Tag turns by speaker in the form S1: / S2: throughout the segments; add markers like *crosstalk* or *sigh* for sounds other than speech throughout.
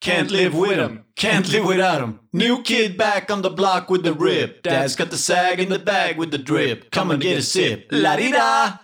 S1: Can't live with 'em, can't live without 'em. New kid back on the block with the rip. Dad's got the sag in the bag with the drip. Come and get a sip. La di da!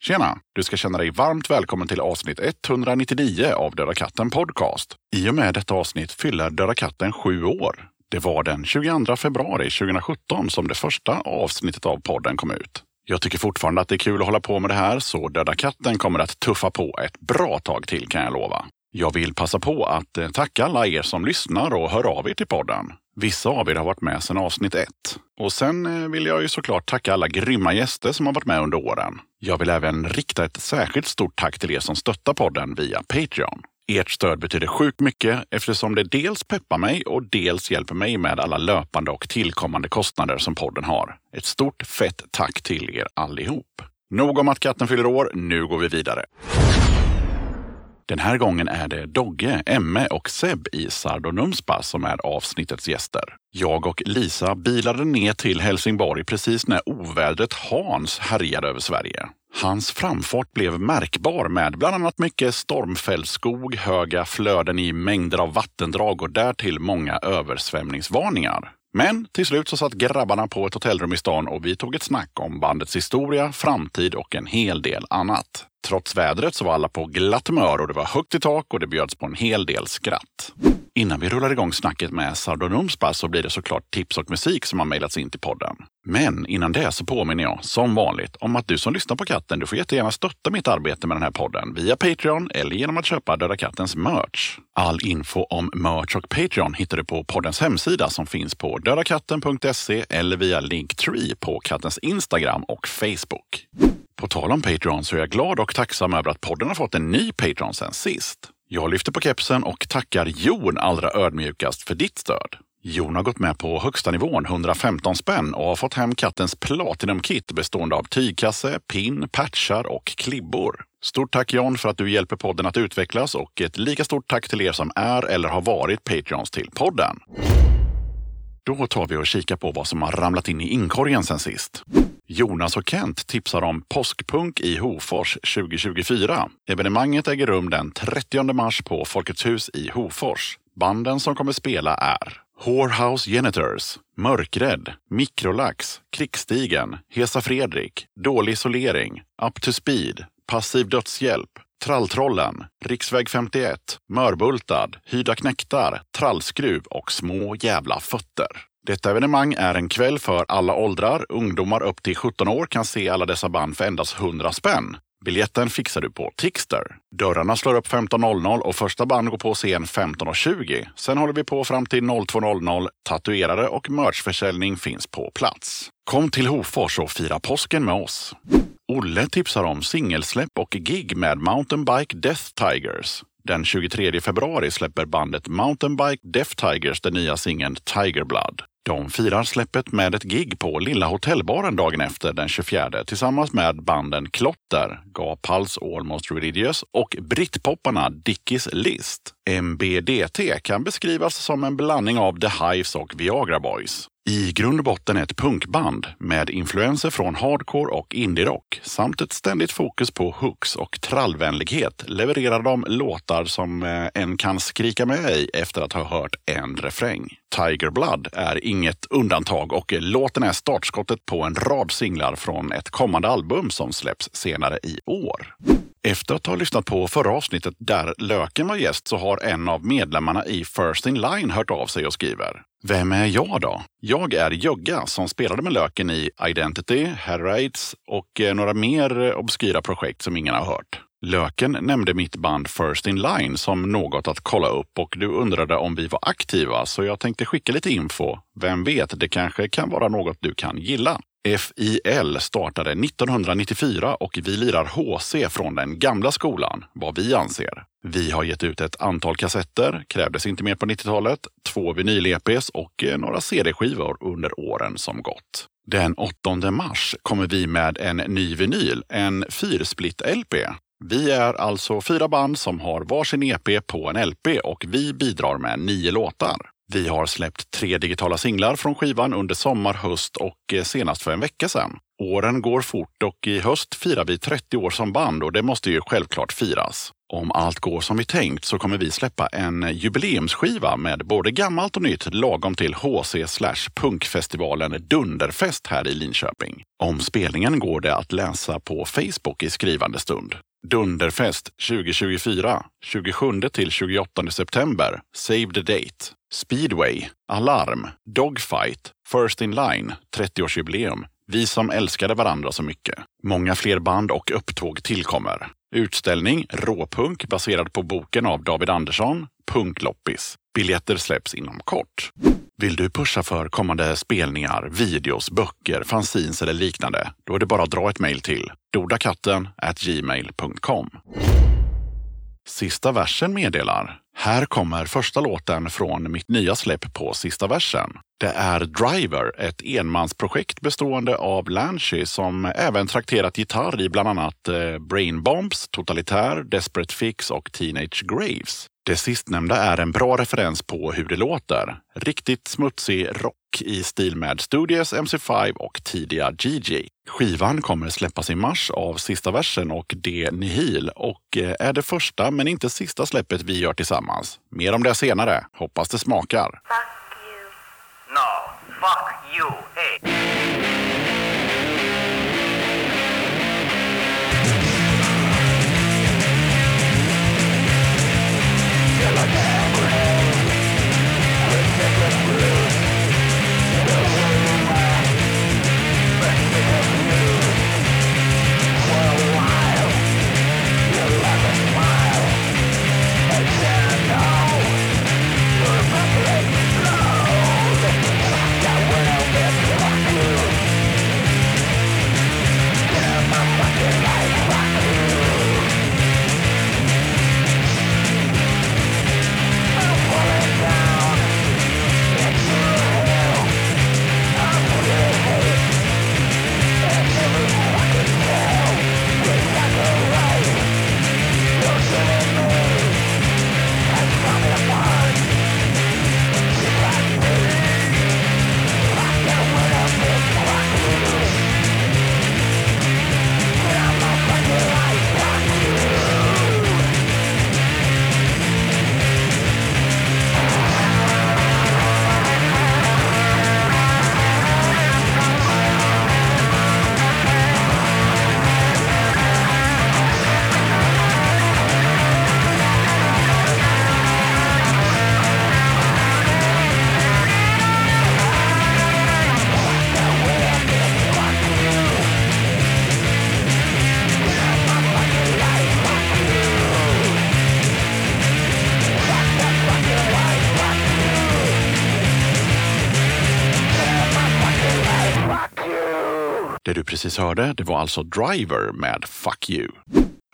S2: Tjena! Du ska känna dig varmt välkommen till avsnitt 199 av Döda katten Podcast. I och med detta avsnitt fyller Döda katten sju år. Det var den 22 februari 2017 som det första avsnittet av podden kom ut. Jag tycker fortfarande att det är kul att hålla på med det här, så Döda katten kommer att tuffa på ett bra tag till kan jag lova. Jag vill passa på att eh, tacka alla er som lyssnar och hör av er till podden. Vissa av er har varit med sedan avsnitt ett. Och sen eh, vill jag ju såklart tacka alla grymma gäster som har varit med under åren. Jag vill även rikta ett särskilt stort tack till er som stöttar podden via Patreon. Ert stöd betyder sjukt mycket eftersom det dels peppar mig och dels hjälper mig med alla löpande och tillkommande kostnader som podden har. Ett stort fett tack till er allihop. Nog om att katten fyller år, nu går vi vidare. Den här gången är det Dogge, Emme och Seb i Sardo Numspa som är avsnittets gäster. Jag och Lisa bilade ner till Helsingborg precis när ovädret Hans härjade över Sverige. Hans framfart blev märkbar med bland annat mycket stormfälld skog, höga flöden i mängder av vattendrag och därtill många översvämningsvarningar. Men till slut så satt grabbarna på ett hotellrum i stan och vi tog ett snack om bandets historia, framtid och en hel del annat. Trots vädret så var alla på glatt humör och det var högt i tak och det bjöds på en hel del skratt. Innan vi rullar igång snacket med Sardo Numspa så blir det såklart tips och musik som har mejlats in till podden. Men innan det så påminner jag, som vanligt, om att du som lyssnar på katten, du får jättegärna stötta mitt arbete med den här podden via Patreon eller genom att köpa Döda kattens merch. All info om merch och Patreon hittar du på poddens hemsida som finns på dödakatten.se eller via Linktree på kattens Instagram och Facebook. På tal om Patreon så är jag glad och tacksam över att podden har fått en ny Patreon sen sist. Jag lyfter på kepsen och tackar Jon allra ödmjukast för ditt stöd. Jon har gått med på högsta nivån 115 spänn och har fått hem kattens Platinum-kit bestående av tygkasse, pin, patchar och klibbor. Stort tack Jon för att du hjälper podden att utvecklas och ett lika stort tack till er som är eller har varit Patreons till podden. Då tar vi och kikar på vad som har ramlat in i inkorgen sen sist. Jonas och Kent tipsar om påskpunk i Hofors 2024. Evenemanget äger rum den 30 mars på Folkets hus i Hofors. Banden som kommer spela är Whorehouse Janitors, Mörkrädd, Mikrolax, Krigsstigen, Hesa Fredrik, Dålig isolering, Up to speed, Passiv dödshjälp, Tralltrollen, Riksväg 51, Mörbultad, Hyrda knäktar, Trallskruv och Små jävla fötter. Detta evenemang är en kväll för alla åldrar. Ungdomar upp till 17 år kan se alla dessa band för endast 100 spänn. Biljetten fixar du på Tixter. Dörrarna slår upp 15.00 och första band går på scen 15.20. Sen håller vi på fram till 02.00. Tatuerare och merchförsäljning finns på plats. Kom till Hofors och fira påsken med oss. Olle tipsar om singelsläpp och gig med Mountainbike Death Tigers. Den 23 februari släpper bandet Mountainbike Death Tigers den nya singeln Tiger Blood. De firar släppet med ett gig på Lilla Hotellbaren dagen efter, den 24, tillsammans med banden Klotter, Gaphals Almost Religious och brittpopparna Dickies List. MBDT kan beskrivas som en blandning av The Hives och Viagra Boys. I grund och botten ett punkband med influenser från hardcore och indierock samt ett ständigt fokus på hooks och trallvänlighet levererar de låtar som eh, en kan skrika med i efter att ha hört en refräng. Tiger Blood är inget undantag och låten är startskottet på en rad singlar från ett kommande album som släpps senare i år. Efter att ha lyssnat på förra avsnittet där Löken var gäst så har en av medlemmarna i First In Line hört av sig och skriver Vem är jag då? Jag är Jögga som spelade med Löken i Identity, Herrites och eh, några mer eh, obskyra projekt som ingen har hört. Löken nämnde mitt band First In Line som något att kolla upp och du undrade om vi var aktiva så jag tänkte skicka lite info. Vem vet, det kanske kan vara något du kan gilla. FIL startade 1994 och vi lirar HC från den gamla skolan, vad vi anser. Vi har gett ut ett antal kassetter, krävdes inte mer på 90-talet, två vinyl-EPs och eh, några CD-skivor under åren som gått. Den 8 mars kommer vi med en ny vinyl, en fyrsplit-LP. Vi är alltså fyra band som har varsin EP på en LP och vi bidrar med nio låtar. Vi har släppt tre digitala singlar från skivan under sommar, höst och eh, senast för en vecka sedan. Åren går fort och i höst firar vi 30 år som band och det måste ju självklart firas. Om allt går som vi tänkt så kommer vi släppa en jubileumsskiva med både gammalt och nytt lagom till HC slash punkfestivalen Dunderfest här i Linköping. Om spelningen går det att läsa på Facebook i skrivande stund. Dunderfest 2024, 27 till 28 september. Save the date. Speedway, Alarm, Dogfight, First in Line, 30-årsjubileum. Vi som älskade varandra så mycket. Många fler band och upptåg tillkommer. Utställning Råpunk baserad på boken av David Andersson, Punkloppis. Biljetter släpps inom kort. Vill du pusha för kommande spelningar, videos, böcker, fanzines eller liknande? Då är det bara att dra ett mejl till dodakatten gmail.com. Sista versen meddelar. Här kommer första låten från mitt nya släpp på sista versen. Det är Driver, ett enmansprojekt bestående av Lanchy som även trakterat gitarr i bland annat eh, Brain Bombs, Totalitär, Desperate Fix och Teenage Graves. Det sistnämnda är en bra referens på hur det låter. Riktigt smutsig rock i stil med Studios, MC5 och tidiga Gigi. Skivan kommer släppas i mars av Sista versen och De Nihil och eh, är det första men inte sista släppet vi gör tillsammans. Mer om det senare. Hoppas det smakar.
S3: Fuck you.
S4: No, fuck you. Hey.
S2: Det du precis hörde, det var alltså Driver med Fuck You.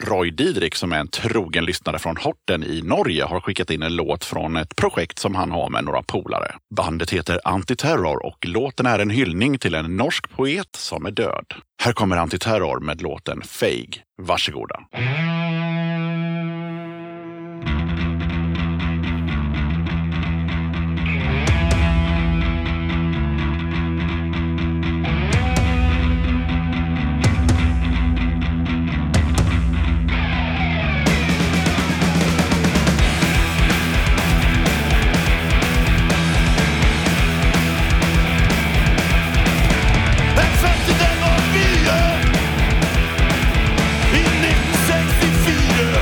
S2: Roy Didrik som är en trogen lyssnare från Horten i Norge har skickat in en låt från ett projekt som han har med några polare. Bandet heter Antiterror och låten är en hyllning till en norsk poet som är död. Här kommer Antiterror med låten Fake. Varsågoda.
S5: Den femte den var vi är. I 1964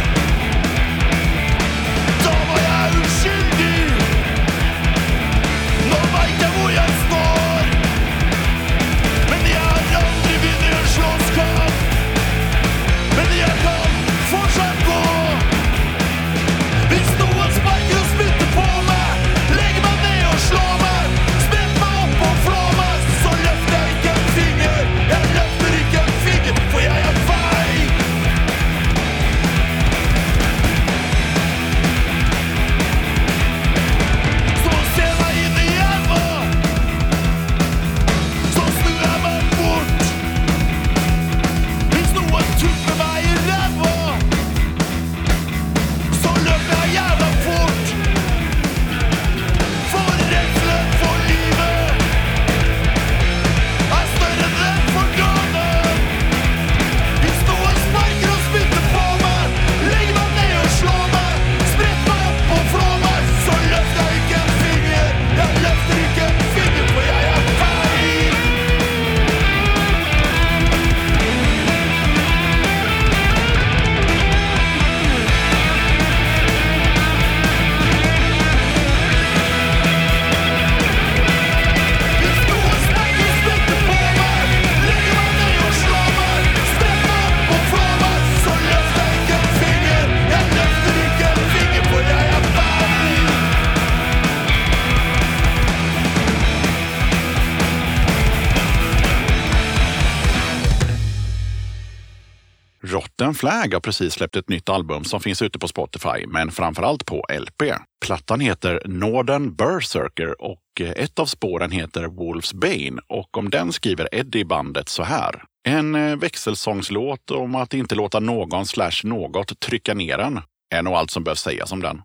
S2: Captain Flag har precis släppt ett nytt album som finns ute på Spotify, men framförallt på LP. Plattan heter Northern Berserker och eh, ett av spåren heter Wolf's Bane och om den skriver Eddie i bandet så här. En eh, växelsångslåt om att inte låta någon slash något trycka ner en. Är nog allt som behövs sägas om den.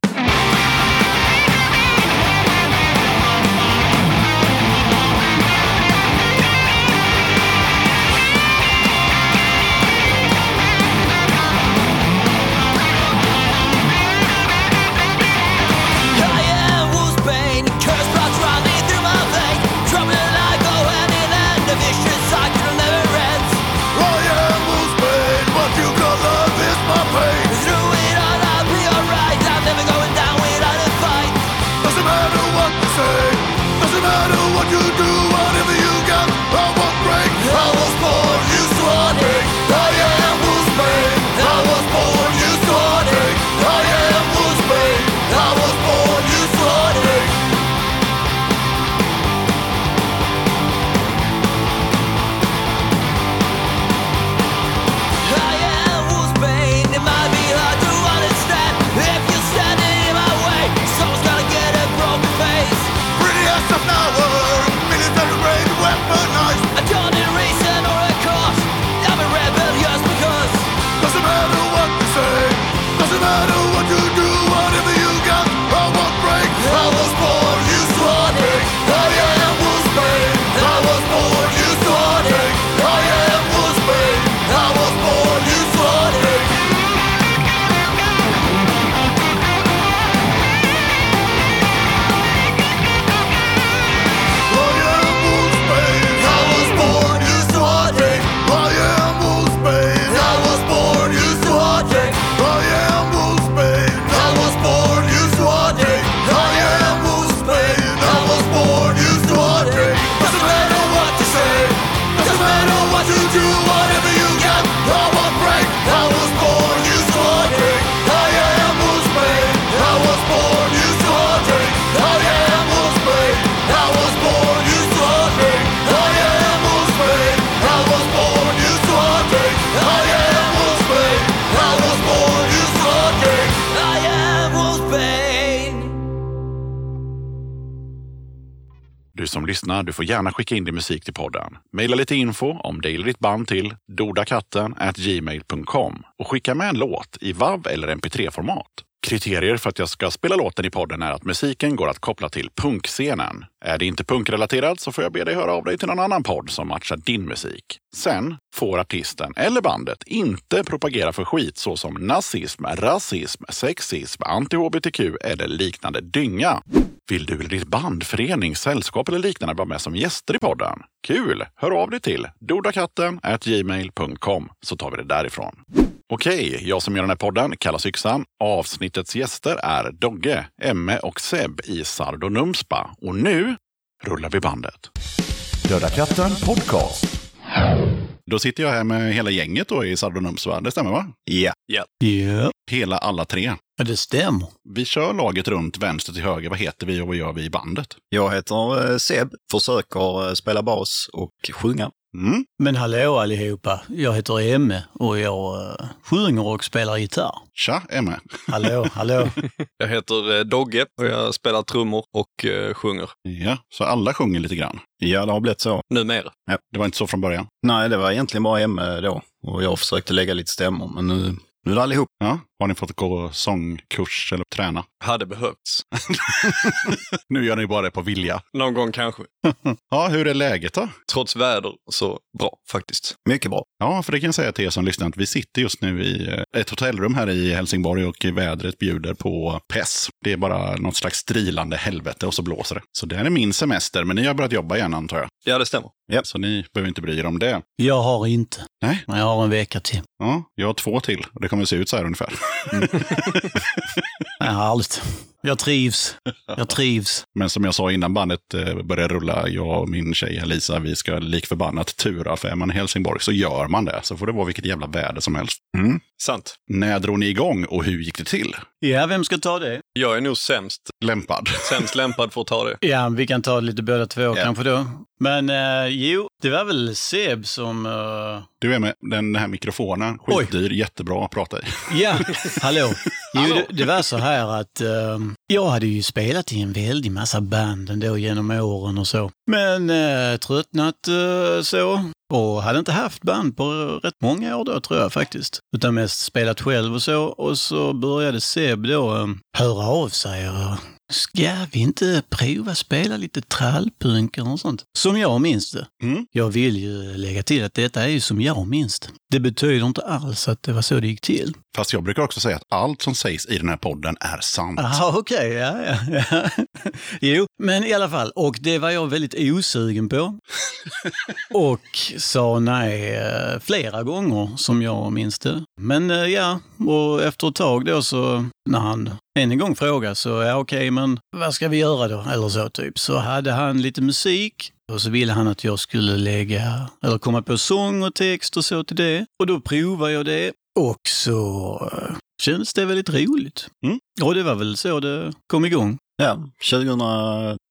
S5: I am who's pain, but you got love is my pain. Doesn't matter what you say, doesn't matter what you do, whatever you got, I won't break. I was born, you swore I am who's pain. I was born, you swore I am who's pain. I was born, you swore Pretty as a flower, military grade weaponized. Doesn't matter what you say, doesn't matter what you do, whatever you got, I won't break. I was born, you swore I am was made. I was born, you swore I am was made. I was born, you swore I am Wolfsbane. I was born used to heartache. I am Wolfsbane. I was born used to heartache. I am Wolfsbane. I was born used to heartache. I am Wolfsbane. I was born used to heartache. Doesn't matter what you say. Doesn't matter what you do. Whatever you got, I won't break. I was born used to heartache. I am Wolfsbane. I was born used to heartache. I am Wolfsbane. I was born used to heartache. I am Wolfsbane. I was born used to heartache. I am Wolfsbane. I was born used to heartache. I am Wolfsbane.
S2: Du som lyssnar, du får gärna skicka in din musik till podden. Maila lite info om dig eller ditt band till dodakatten gmail.com och skicka med en låt i WAV eller MP3-format. Kriterier för att jag ska spela låten i podden är att musiken går att koppla till punkscenen. Är det inte punkrelaterat så får jag be dig höra av dig till någon annan podd som matchar din musik. Sen får artisten eller bandet inte propagera för skit såsom nazism, rasism, sexism, anti-hbtq eller liknande dynga. Vill du eller ditt band, förening, sällskap eller liknande vara med som gäster i podden? Kul! Hör av dig till dodakatten gmail.com så tar vi det därifrån. Okej, jag som gör den här podden kallas Yxan. Avsnittets gäster är Dogge, Emme och Seb i Sardo Numspa. Och nu rullar vi bandet.
S3: Döda katten podcast.
S2: Då sitter jag här med hela gänget då i Sardo Numspa. Det stämmer va? Ja.
S1: Ja,
S2: Hela alla tre.
S1: det stämmer.
S2: Vi kör laget runt vänster till höger. Vad heter vi och vad gör vi i bandet?
S6: Jag heter eh, Seb, försöker eh, spela bas och sjunga.
S2: Mm.
S1: Men hallå allihopa, jag heter Emme och jag eh, sjunger och spelar gitarr.
S2: Tja, Emme.
S1: *laughs* Hallå, hallå.
S7: Jag heter eh, Dogge och jag spelar trummor och eh, sjunger
S2: Ja, så alla sjunger lite grann.
S6: Ja, det har blivit så.
S7: numera.
S2: Det var inte så från början.
S6: Nej, det var egentligen bara Emme då. Och jag försökte lägga lite stämmor, men nu, nu är det allihop.
S2: Ja. Har ni fått gå sångkurs eller träna? *laughs*
S7: Hade behövts.
S2: Nu gör ni bara det på vilja.
S7: Någon gång kanske.
S2: Ja, hur är läget då?
S7: Trots väder så bra faktiskt.
S6: Mycket bra.
S2: Ja, för det kan jag säga till er som lyssnar att vi sitter just nu i eh, ett hotellrum här i Helsingborg och vädret bjuder på pess. Det är bara något slags strilande helvete och så blåser det. Så det här är min semester, men ni har börjat jobba igen antar jag.
S7: Ja, det stämmer.
S2: Så ni behöver inte bry er om det.
S1: Jag har inte.
S2: Nej.
S1: Men jag har en vecka till.
S2: Ja, jag har två till och det kommer se ut så här ungefär.
S8: Ja, allt. Jag trivs. Jag trivs.
S2: *laughs* Men som jag sa innan bandet eh, började rulla, jag och min tjej Elisa, vi ska likförbannat tura. För är man i Helsingborg så gör man det. Så får det vara vilket jävla väder som helst. Mm.
S7: Sant.
S2: När drog ni igång och hur gick det till?
S8: Ja, vem ska ta det?
S7: Jag är nog sämst,
S2: Lämpad.
S7: sämst lämpad för att ta det.
S8: Ja, vi kan ta lite båda två kanske då. Men eh, jo, det var väl Seb som... eh,
S2: Du är med. Den här mikrofonen,
S8: Oj.
S2: skitdyr, jättebra att prata i.
S8: Ja, hallå. Jo, det, det var så här att ehm, jag hade ju spelat i en väldig massa band ändå genom åren och så. Men eh, tröttnat eh, så. Och hade inte haft band på rätt många år då tror jag faktiskt. Utan mest spelat själv och så. Och så började Seb då ehm, höra av sig och Ska vi inte prova spela lite trallpunk eller något sånt? Som jag minns det.
S2: Mm.
S8: Jag vill ju lägga till att detta är ju som jag minns det. Det betyder inte alls att det var så det gick till.
S2: Fast jag brukar också säga att allt som sägs i den här podden är sant.
S8: Aha, okej. Ja, ja, *laughs* ja. Jo, men i alla fall. Och det var jag väldigt osugen på. och sa nej eh, flera gånger, som jag minns det. Men eh, ja, och efter ett tag då så, när han än en gång frågade så, ja okej, men vad ska vi göra då? Eller så typ. Så hade han lite musik. Och så ville han att jag skulle lägga, eller komma på sång och text och så till det. Och då provade jag det. Och så eh, kändes det väldigt roligt. Ja, det var väl så det kom igång.
S6: Ja,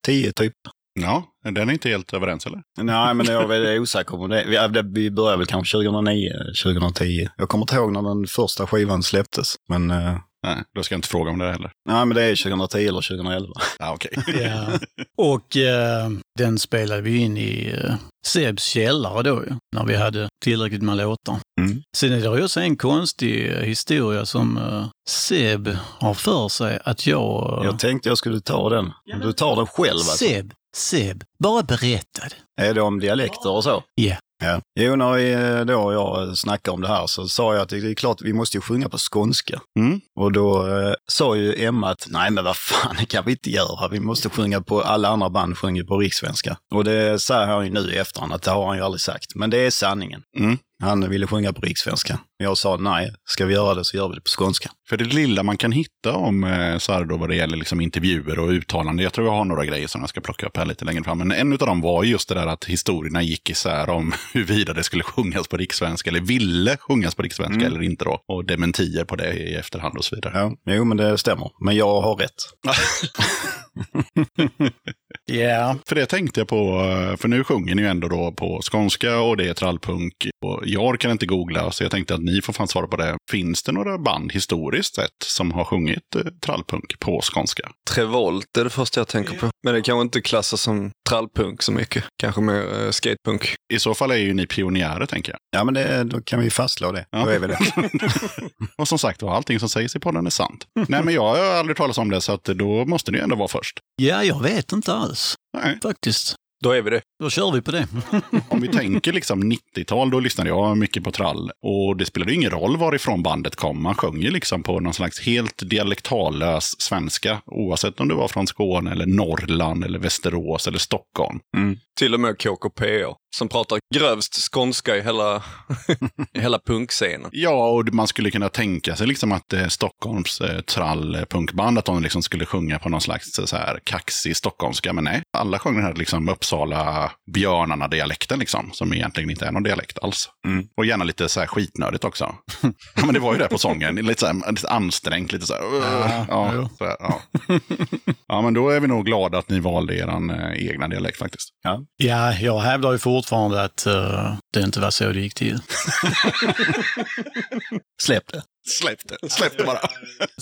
S6: 2010 typ.
S2: Ja, den är inte helt överens eller?
S6: Nej, men jag är väldigt osäker på det. Vi- ja, det- Vi började väl kanske 2009, 2010. Jag kommer inte ihåg när den första skivan släpptes, men eh,
S2: Nej, då ska jag inte fråga om det heller.
S6: nej, men det är 2010 eller 2011.
S2: Ah, okej.
S8: Ja. Och eh, den spelade vi in i eh, Sebs källare då ju, när vi hade tillräckligt med låtar.
S2: Mm.
S8: Sen är det ju också en konstig eh, historia som eh, Seb har för sig att jag...
S6: *laughs*
S8: eh,
S6: Jag tänkte jag skulle ta den. Du tar den själv alltså.
S8: Seb, Seb, bara berättade.
S6: Är det om dialekter och så?
S8: Ja.
S6: Ja. Jo, när vi, eh, då jag snackade om det här så sa jag att det är klart vi måste ju sjunga på skånska.
S2: Mm.
S6: Och då eh, sa ju Emma att nej men vad fan det kan vi inte göra, vi måste sjunga på, alla andra band sjunger på rikssvenska. Och det säger han ju nu i efterhand att det har han ju aldrig sagt, men det är sanningen.
S2: Mm.
S6: Han ville sjunga på rikssvenska. Jag sa nej, ska vi göra det så gör vi det på skånska.
S2: För det lilla man kan hitta om eh, Sardo vad det gäller liksom intervjuer och uttalanden. Jag tror jag har några grejer som jag ska plocka upp här lite längre fram. Men en av dem var just det där att historierna gick isär om *laughs* huruvida det skulle sjungas på rikssvenska eller ville sjungas på rikssvenska
S6: Mm.
S2: eller inte då. Och dementier på det i efterhand och så vidare.
S6: Ja, jo men det stämmer, men jag har rätt.
S8: Ja.
S2: För det tänkte jag på, eh, för nu sjunger ni ju ändå då på skånska och det är trallpunk. Och jag kan inte googla, så jag tänkte att ni får fan svara på det. Finns det några band historiskt sett som har sjungit eh, trallpunk på skånska?
S7: Trevolt är det första jag tänker på. Men det kanske inte klassas som trallpunk så mycket. Kanske mer eh, skatepunk.
S2: I så fall är ju ni pionjärer, tänker jag.
S6: Ja men det, då kan vi fastslå det.
S2: Ja.
S6: Då är vi det.
S2: och som sagt var, allting som sägs i podden är sant. Nej, men jag har aldrig talat om det, så att då måste ni ändå vara först.
S8: Ja, jag vet inte alls
S2: Nej,
S8: faktiskt.
S7: *laughs* Då är vi det.
S8: Då kör vi på *laughs* det.
S2: om vi tänker liksom 90-tal, då lyssnade jag mycket på trall. Och det spelade ju ingen roll varifrån bandet kom. Man sjöng ju liksom på någon slags helt dialektallös svenska. Oavsett om du var från Skåne, eller Norrland, eller Västerås eller Stockholm.
S7: Till och med KKP som pratar grövst skånska i hela, *laughs* i hela punkscenen.
S2: Ja, och man skulle kunna tänka sig liksom att eh, Stockholms eh, trallpunkband, att de liksom skulle sjunga på någon slags eh, så här, kaxig stockholmska. Men nej, alla sjöng den här liksom, Uppsala-björnarna-dialekten, liksom, som egentligen inte är någon dialekt alls.
S8: Mm.
S2: Och gärna lite så här skitnödigt också. *laughs* ja, men det var ju det på sången, lite, så här, lite ansträngt, lite så här. "Ugh",
S8: jo.
S2: ja, så här ja. ja, men då är vi nog glada att ni valde er eh, egna dialekt faktiskt.
S8: Ja, jag hävdar ju fortfarande att eh, det inte var så det gick till.
S6: Släpp det.
S2: Släpp det, släpp det bara.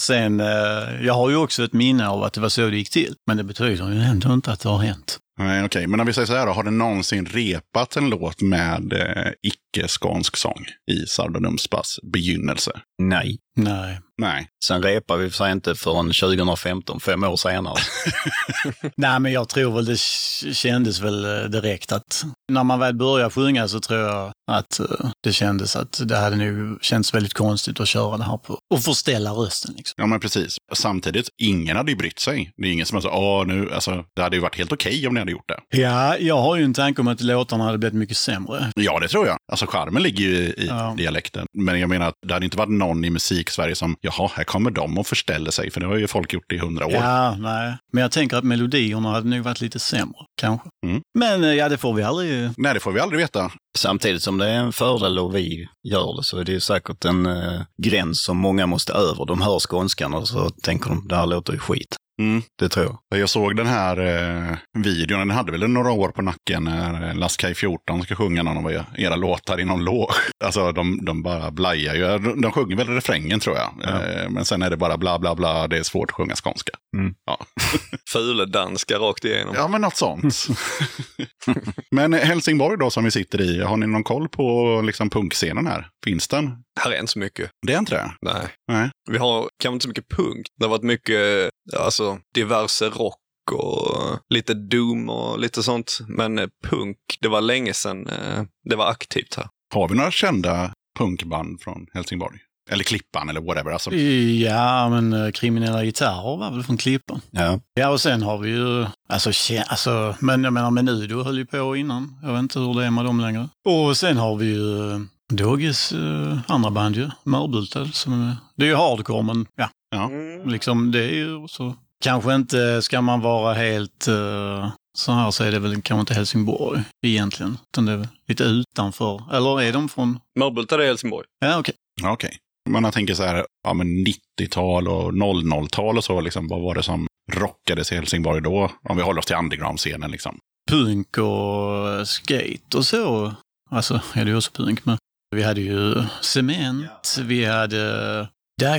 S8: Sen, eh, jag har ju också ett minne av att det var så det gick till. Men det betyder ju ändå inte att det har hänt.
S2: Nej, okej. Men om vi säger så här då. Har det någonsin repat en låt med eh, icke-skånsk sång i Sardo Numspas begynnelse?
S6: Nej.
S8: Nej.
S2: Nej.
S6: Sen repar vi för sig inte förrän 2015, fem år senare.
S8: Nej, men jag tror väl det k- kändes väl eh, direkt att när man väl började sjunga så tror jag att eh, det kändes att det hade nu känts väldigt konstigt att köra det här på och förställa rösten liksom.
S2: Ja, men precis. Samtidigt, ingen hade ju brytt sig. Det är ingen som har sagt, åh, nu, alltså, det hade ju varit helt okej om ni hade gjort det.
S8: Ja, jag har ju en tanke om att låtarna hade blivit mycket sämre.
S2: Ja, det tror jag. Alltså, charmen ligger ju i
S8: Ja.
S2: dialekten. Men jag menar att det hade inte varit någon i musik musik-Sverige som, jaha, här kommer de och förställer sig, för det har ju folk gjort i hundra år.
S8: Ja, nej. Men jag tänker att melodierna hade nog varit lite sämre, kanske.
S2: Mm.
S8: Men eh, ja, det får vi aldrig...
S2: Nej, det får vi aldrig veta.
S6: Samtidigt som det är en fördel och vi gör det så är det ju säkert en eh, gräns som många måste över. De hör skånskan och så tänker de, det här låter ju skit.
S2: Mm.
S6: Det tror jag.
S2: Jag såg den här eh, videon, den hade väl några år på nacken när Laskaj 14 ska sjunga någon av era låtar i någon låg. *laughs* Alltså de, de bara blajar ju. De, de sjunger väl refrängen tror jag. Eh, men sen är det bara bla bla bla, det är svårt att sjunga skånska.
S7: Fuledanska rakt igenom.
S2: Ja, men något sånt.
S6: *laughs*
S2: *laughs* men Helsingborg då som vi sitter i, har ni någon koll på liksom, punkscenen här? Finns den?
S7: Här är inte så mycket.
S2: Det är inte det?
S7: Nej.
S2: Nej.
S7: Vi har kanske inte så mycket punk. Det har varit mycket, alltså, diverse rock och lite doom och lite sånt. Men eh, punk, det var länge sedan eh, det var aktivt här.
S2: Har vi några kända punkband från Helsingborg? Eller Klippan eller whatever. Alltså,
S8: Ja, men eh, kriminella gitarrer var väl från Klippan.
S6: Ja.
S8: Ja, och sen har vi ju... Alltså, kä- alltså men jag menar, Menudo höll ju på innan. Jag vet inte hur det är med dem längre. Och sen har vi ju eh, Dogges eh, andra band ju, Mörbultad. Som, eh, det är ju hardcore, men ja,
S2: ja.
S8: liksom det är ju så. Kanske inte ska man vara helt eh, så här så är det väl kanske inte Helsingborg egentligen. Utan det är väl lite utanför. Eller är de från...
S7: Mörbultad är Helsingborg.
S8: Ja, okej.
S2: Ja, Okej. Men jag tänker så här, ja men 90-tal och 00-tal och så, liksom, vad var det som rockades i Helsingborg då? Om vi håller oss till underground-scenen liksom.
S8: Punk och eh, skate och så. Alltså, ja, det är ju också punk, men vi hade ju Cement, vi hade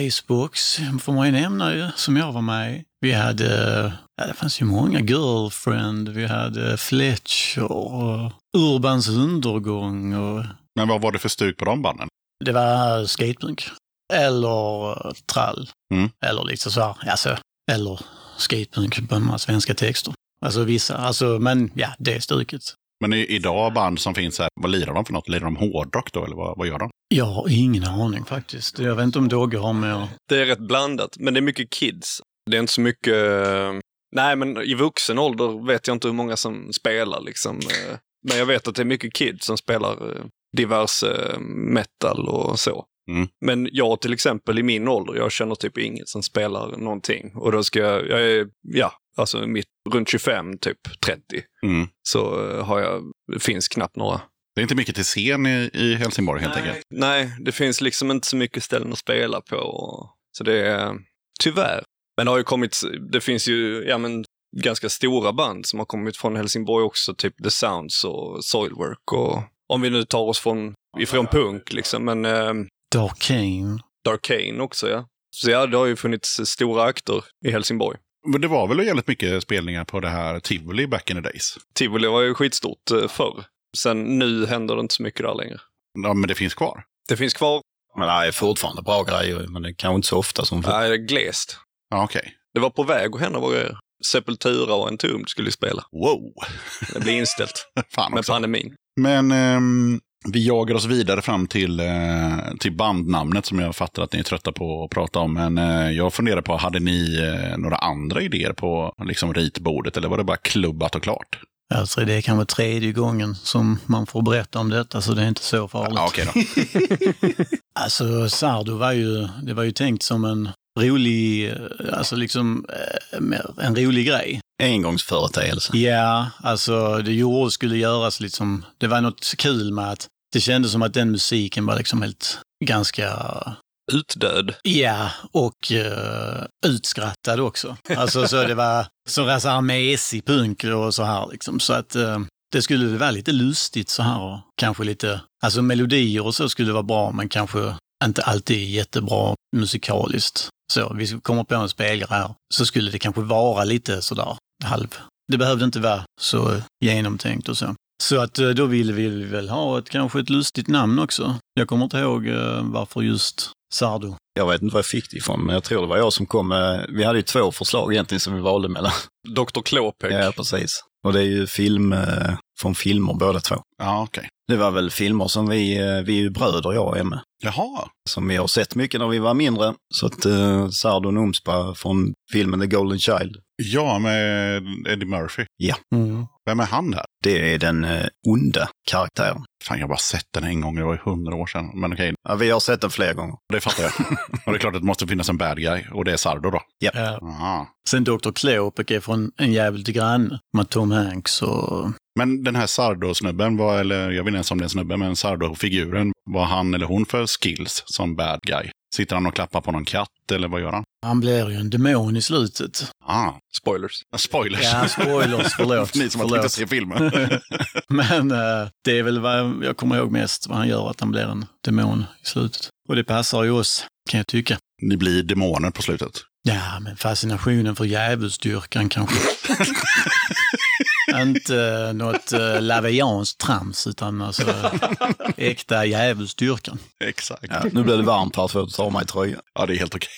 S8: Dicebox, får man ju nämna ju, som jag var med i. Vi hade, ja det fanns ju många, Girlfriend, vi hade Fletcher, och Urbans undergång och
S2: Men vad var det för stuk på de banden?
S8: Det var skatepunk. Eller eh, trall.
S2: Mm.
S8: Eller liksom så här, alltså, eller skatepunk på med svenska texter. Alltså vissa, alltså, men ja, det är stuket.
S2: Men i, idag band som finns här, vad lirar de för något? Lirar de hårdrock då, eller vad, vad gör de?
S8: Jag har ingen aning faktiskt. Jag vet inte om Dogge har med.
S7: Det är rätt blandat, men det är mycket kids. Det är inte så mycket... eh, Nej, men i vuxen ålder vet jag inte hur många som spelar liksom. eh, Men jag vet att det är mycket kids som spelar eh, diverse eh, metal och så.
S2: Mm.
S7: Men jag till exempel i min ålder, jag känner typ ingen som spelar någonting. Och då ska jag, jag är, ja, alltså mitt, runt 25, typ 30,
S2: Mm.
S7: så eh, har jag, det finns knappt några.
S2: Det är inte mycket till scen i, i Helsingborg helt enkelt.
S7: Nej, det finns liksom inte så mycket ställen att spela på. och- Så det är tyvärr. Men det har ju kommit, det finns ju ja, men, ganska stora band som har kommit från Helsingborg också, typ The Sounds och Soilwork. Och, om vi nu tar oss från, ifrån punk, liksom, men eh,
S8: Dark Kane.
S7: Darkane också, ja. Så ja, det har ju funnits stora akter i Helsingborg.
S2: Men det var väl jävligt mycket spelningar på det här Tivoli back in the days?
S7: Tivoli var ju skitstort eh, förr. Sen nu händer det inte så mycket där längre.
S2: Ja, men det finns kvar.
S7: Det finns kvar,
S6: Men det är fortfarande bra grejer, men det är kanske inte så ofta som förr.
S7: nej, det är glest.
S2: Ja, okej.
S7: Det var på väg att hända våra grejer. Sepultura och Entombed skulle ju spela.
S2: Wow! *laughs*
S7: Det blir inställt
S2: Fan
S7: med
S2: också.
S7: pandemin.
S2: Men ehm, vi jagar oss vidare fram till, eh, till bandnamnet som jag fattar att ni är trötta på att prata om. Men eh, jag funderar på, hade ni eh, några andra idéer på liksom, ritbordet eller var det bara klubbat och klart?
S8: Alltså det är kanske tredje gången som man får berätta om detta, så det är inte så farligt.
S2: Ja, okej då.
S8: Alltså Sardo var ju, det var ju tänkt som en rolig, eh, alltså liksom eh, mer en rolig grej.
S6: Engångsföreteelse.
S8: Ja, alltså det gjorde, skulle göras liksom, det var något kul med att det kändes som att den musiken var liksom helt ganska,
S7: Utdöd.
S8: ja, och eh, utskrattad också. Alltså så det var så där så här mesig punk och så här liksom. Så att eh, det skulle väl vara lite lustigt så här och kanske lite, alltså melodier och så skulle vara bra men kanske inte alltid jättebra musikaliskt. Så vi kommer på en spelare här så skulle det kanske vara lite sådär halv det behövde inte vara så genomtänkt och så. Så att eh, då ville vi väl ha ett kanske ett lustigt namn också. Jag kommer inte ihåg eh, varför just Sardo.
S6: Jag vet inte var jag fick det ifrån, men jag tror det var jag som kom med... Vi hade ju två förslag egentligen som vi valde mellan.
S7: Dr. Klåpek.
S6: Ja, precis. Och det är ju film, eh, från filmer båda två.
S2: Ja, okej.
S6: Det var väl filmer som vi, eh, vi är ju bröder jag och Emme,
S2: Jaha.
S6: som vi har sett mycket när vi var mindre. Så att eh, Sardo Numspa från filmen The Golden Child,
S2: Ja, med Eddie Murphy.
S8: Mm.
S2: Vem är han där?
S6: det är den eh, onda karaktären.
S2: Fan, jag har bara sett den en gång. Det var ju hundra år sedan. Men okej,
S6: Ja, vi har sett den flera gånger.
S2: det fattar
S6: *laughs*
S2: jag. och det är klart att det måste finnas en bad guy. Och det är Sardo då.
S8: Ja.
S2: Aha.
S8: Eh, Sen Dr. Klopek är från En jävel till granne med Tom Hanks och...
S2: Men den här Sardo-snubben, var, eller jag vet inte ens om det är en snubbe, men Sardo-figuren, vad han eller hon för skills som bad guy? Sitter han och klappar på någon katt eller vad gör han?
S8: Han blir ju en demon i slutet.
S2: Ah,
S7: Spoilers.
S2: spoilers!
S8: Ja,
S2: *laughs*
S8: spoilers, förlåt.
S2: Ni som har tänkt
S8: förlåt.
S2: att se filmen.
S6: *laughs*
S8: Men eh, det är väl vad jag kommer ihåg mest, vad han gör, att han blir en demon i slutet. Och det passar ju oss, kan jag tycka.
S2: Ni blir demoner på slutet.
S8: Ja, men fascinationen för djävulsdyrkan
S2: *laughs*
S8: kanske. Inte eh, något äh, lavianskt trams, utan alltså
S2: *laughs*
S8: äkta djävulsdyrkan.
S2: Exakt.
S6: Ja, nu blir det varmt här så jag tar av mig tröjan.
S2: Ja, det är helt okej.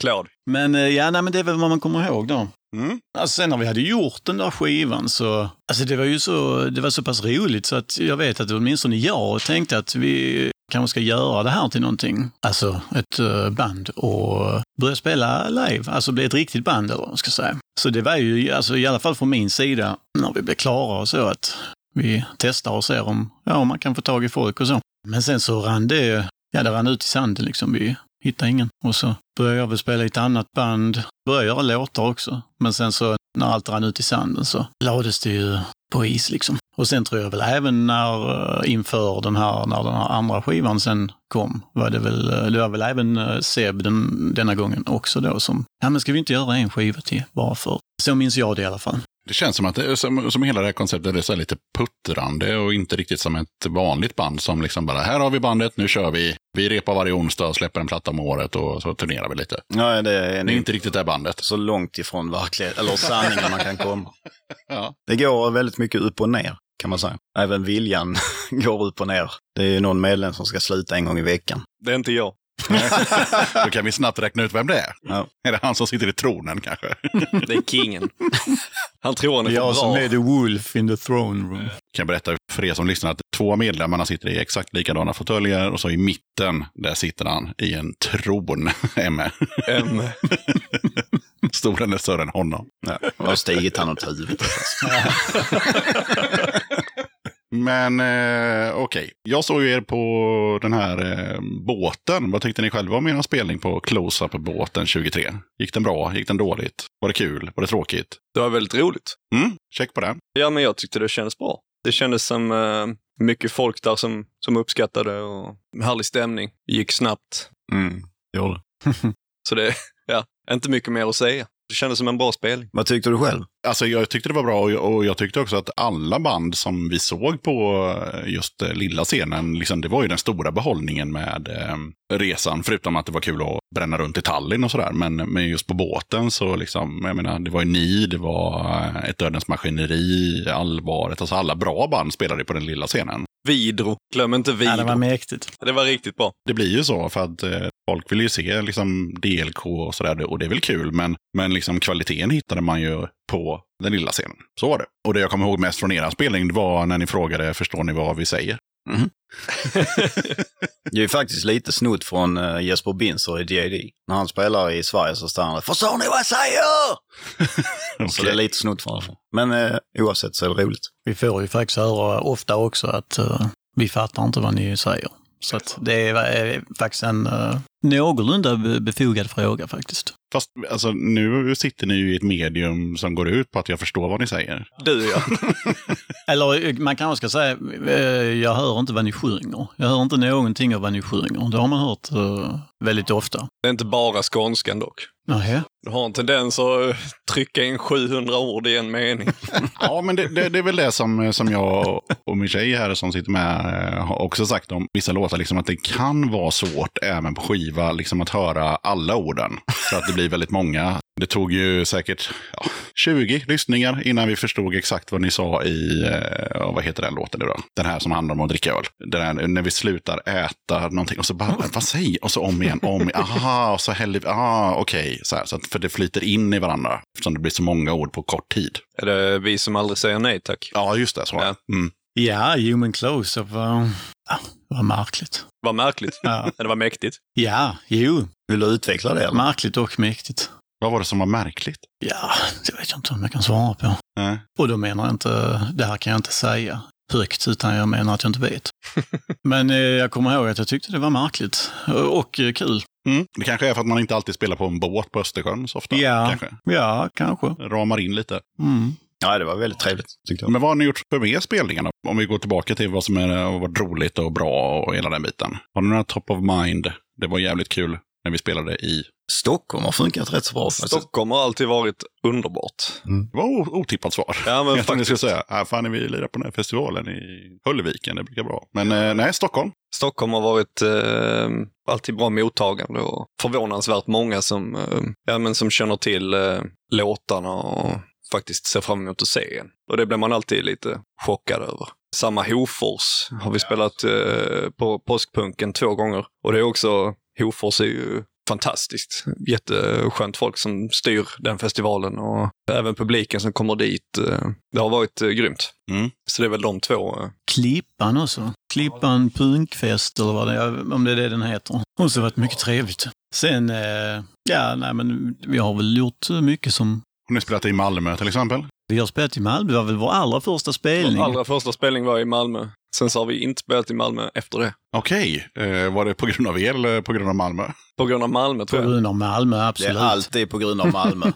S7: Claude.
S8: Men eh, ja, nej, men det är väl vad man kommer ihåg då.
S2: Mm.
S8: Alltså sen när vi hade gjort den där skivan så, alltså det var ju så, det var så pass roligt så att jag vet att åtminstone jag tänkte att vi kanske ska göra det här till någonting. Alltså ett eh, band och börja spela live, alltså bli ett riktigt band eller vad man ska säga. Så det var ju, alltså i alla fall från min sida, när vi blev klara och så att vi testar och ser om, ja, om man kan få tag i folk och så. Men sen så rann det, ja det rann ut i sanden liksom. Vi hittade ingen. Och så började jag väl spela i ett annat band. Började göra låtar också. Men sen så när allt rann ut i sanden så lades det ju på is liksom. Och sen tror jag väl även när eh, inför den här, när den här andra skivan sen kom, var det väl, eh, det var väl även eh, Seb den, denna gången också då som, ja men ska vi inte göra en skiva till bara för? Så minns jag det i alla fall.
S2: Det känns som att det, som, som hela det här konceptet är så här lite puttrande och inte riktigt som ett vanligt band som liksom bara här har vi bandet, nu kör vi. Vi repar varje onsdag och släpper en platta om året och så turnerar vi lite.
S6: Nej, det är
S2: Det är
S6: nog
S2: inte riktigt det här bandet.
S6: *laughs* så långt ifrån verkligheten, eller sanningen man kan komma.
S2: Ja.
S6: Det går väldigt mycket upp och ner, kan man säga. Även viljan går upp och ner. Det är ju någon medlem som ska sluta en gång i veckan.
S7: Det är inte jag.
S2: Då kan vi snabbt räkna ut vem det är.
S6: Ja.
S2: *laughs* Är det han som sitter i tronen kanske?
S7: Det är kingen. Han tror han är för bra.
S8: the wolf in the throne room.
S2: kan berätta för er som lyssnar att två av medlemmarna sitter i exakt likadana fåtöljer och så i mitten, där sitter han i en tron, *laughs* Emme.
S7: Em,
S2: Stolen är större än honom.
S6: Ja. Och har stigit han åt huvudet.
S2: Men eh, okej, jag såg ju er på den här eh, båten. Vad tyckte ni själva om er spelning på Close-Up-båten 23? Gick den bra? Gick den dåligt? Var det kul? Var det tråkigt?
S7: Det var väldigt roligt.
S2: Mm, check på den.
S7: Ja, men jag tyckte det kändes bra. Det kändes som eh, mycket folk där som, som uppskattade och härlig stämning. Gick snabbt.
S6: Mm. Gjorde. det.
S7: Så det, *laughs* ja, inte mycket mer att säga. Det kändes som en bra spelning.
S6: Vad tyckte du själv?
S2: Alltså jag tyckte det var bra och jag, och jag tyckte också att alla band som vi såg på eh, just eh, lilla scenen, liksom, det var ju den stora behållningen med eh, resan, förutom att det var kul att bränna runt i Tallinn och sådär. Men, men just på båten så, liksom, jag menar, det var ju ni, det var eh, ett Dödens Maskineri, Allvaret, alltså alla bra band spelade på den lilla scenen.
S7: Vidro. Glöm inte Vidro.
S8: Ja, det var mäktigt.
S7: det var riktigt bra.
S2: Det blir ju så för att eh, folk vill ju se liksom, DLK och sådär och det är väl kul men, men liksom, kvaliteten hittade man ju på den lilla scenen. Så var det. Och det jag kommer ihåg mest från era spelning det var när ni frågade förstår ni vad vi säger?
S6: Det är ju faktiskt lite snott från eh, Jesper Binzer i D.A.D. När han spelar i Sverige så står han där, Förstår ni vad jag säger? Så det är
S2: Okej.
S6: lite snott från honom. Men eh, oavsett så är det roligt.
S8: Vi får ju faktiskt höra ofta också att eh, vi fattar inte vad ni säger. Så att det är, eh, faktiskt en uh, någorlunda be- befogad fråga faktiskt.
S2: Fast alltså, nu sitter ni ju i ett medium som går ut på att jag förstår vad ni säger.
S7: Du ja.
S8: Eller eh, man kanske ska säga, eh, jag hör inte vad ni sjunger. Jag hör inte någonting av vad ni sjunger. Det har man hört eh, väldigt ofta.
S7: Det är inte bara skånskan dock.
S8: Nähä?
S7: Du har en tendens att eh, trycka in 700 ord i en mening.
S2: Ja, men det, det, det är väl det som, som jag och min tjej här som sitter med eh, har också sagt om vissa låtar, liksom att det kan vara svårt även på skiva liksom att höra alla orden. Så att det blir väldigt många. Det tog ju säkert ja, 20 lyssningar innan vi förstod exakt vad ni sa i, eh, ja, vad heter den låten nu då? Den här som handlar om att dricka öl. Den här, när vi slutar äta någonting och så bara, vad säger, och så om igen, om, aha, och så häller vi, ah, okej, så här. Så att för det flyter in i varandra eftersom det blir så många ord på kort tid.
S7: Är det vi som aldrig säger nej tack?
S2: Ja, just det. Så.
S7: Ja.
S2: Mm.
S8: Ja, human close-up var... Ja, var märkligt.
S7: Vad märkligt.
S6: *laughs*
S8: Ja,
S7: Det var mäktigt.
S8: ja jo.
S6: Vill du utveckla det? Eller?
S8: Märkligt och mäktigt.
S2: Vad var det som var märkligt?
S8: Ja, det vet jag inte om jag kan svara på.
S2: Nej.
S8: Och då menar jag inte, det här kan jag inte säga högt, utan jag menar att jag inte
S7: *laughs*
S8: vet. Men eh, jag kommer ihåg att jag tyckte det var märkligt och, och eh, kul.
S2: Mm. Det kanske är för att man inte alltid spelar på en båt på Östersjön så ofta.
S8: Ja.
S2: Kanske.
S8: Ja, kanske.
S2: Ramar in lite.
S8: Mm.
S6: Ja, det var väldigt trevligt tyckte jag.
S2: Men vad har ni gjort för mer spelningar då? Om vi går tillbaka till vad som är, har varit roligt och bra och hela den biten. Har ni några top of mind? Det var jävligt kul när vi spelade i...
S6: Stockholm har funkat rätt så bra.
S7: Alltså,
S6: faktiskt.
S7: Stockholm har alltid varit underbart.
S2: Det var o- otippat svar.
S7: Ja, men
S2: jag *laughs* tänkte ni skulle
S7: faktiskt.
S2: säga, ah, fan är vi lirar på den här festivalen i Höllviken, det brukar bra. Men eh, nej, Stockholm.
S7: Stockholm har varit eh, alltid bra mottagande och förvånansvärt många som, eh, ja, men som känner till eh, låtarna och faktiskt ser fram emot att se en. Och det blir man alltid lite chockad över. Samma Hofors har vi spelat eh, på Påskpunken två gånger och det är också, Hofors är ju fantastiskt. Jätteskönt folk som styr den festivalen och även publiken som kommer dit. eh, Det har varit eh, grymt.
S2: Mm.
S7: Så det är väl de två eh,
S8: Klippan också. Klippan punkfest eller vad det är, om det är det den heter. Och så varit mycket trevligt. Sen, eh, ja, nej men vi har väl gjort eh, mycket som...
S2: Har ni spelat i Malmö till exempel?
S8: Vi har spelat i Malmö, det var väl vår allra första spelning.
S7: Vår allra första spelning var i Malmö. Sen så har vi inte spelat i Malmö efter det.
S2: Okej, eh, var det på grund av er eller på grund av Malmö?
S7: På grund av Malmö
S8: På
S7: tror jag.
S8: grund av Malmö,
S6: Det är
S8: absolut.
S6: alltid på grund av Malmö.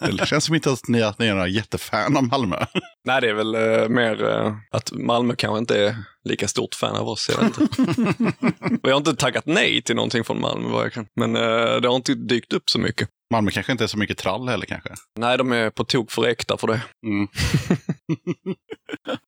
S2: Det känns som inte att ni, att ni är några jättefan av Malmö.
S7: Nej, det är väl eh, mer eh, att Malmö kanske inte är lika stort fan av oss. Jag, vet inte. Och jag har inte tackat nej till någonting från Malmö vad jag kan. Men eh, det har inte dykt upp så mycket.
S2: Malmö kanske inte är så mycket trall heller kanske. Mm.
S7: Nej, de är på tok för äkta för det.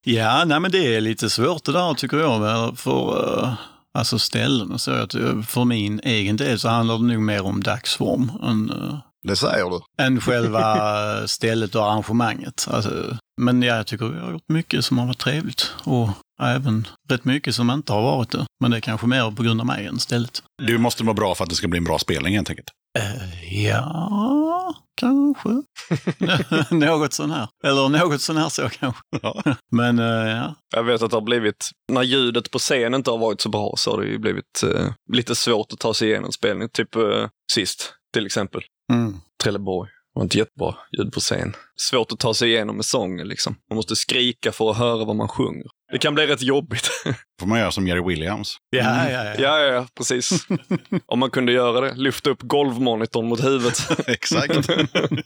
S8: Ja, nej men det är lite svårt det där tycker jag. väl, För, eh, alltså ställen och så. Att, eh, för min egen del så handlar det nog mer om dagsform än, eh,
S6: Det säger du.
S8: än *laughs* själva eh, stället och arrangemanget. Alltså, men ja, jag tycker vi har gjort mycket som har varit trevligt. Och även rätt mycket som inte har varit det. Men det är kanske mer på grund av mig än stället.
S2: Du måste vara bra för att det ska bli en bra spelning helt enkelt.
S8: Eh, ja, kanske. *laughs* något sån här. Eller något sån här så kanske.
S2: Ja.
S8: *laughs* Men eh, ja,
S7: Jag vet att det har blivit, när ljudet på scenen inte har varit så bra så har det ju blivit eh, lite svårt att ta sig igenom spelningen. Typ eh, sist, till exempel.
S8: mm.
S7: Trelleborg. Det var inte jättebra ljud på scen. Svårt att ta sig igenom med sången liksom. Man måste skrika för att höra vad man sjunger. Det kan bli rätt jobbigt.
S2: får man göra som Jerry
S6: *laughs*
S2: Williams.
S8: ja, ja, ja.
S7: *laughs* ja, ja, ja, precis. Om man kunde göra det. Lyfta upp golvmonitorn mot huvudet. *laughs*
S2: Exakt.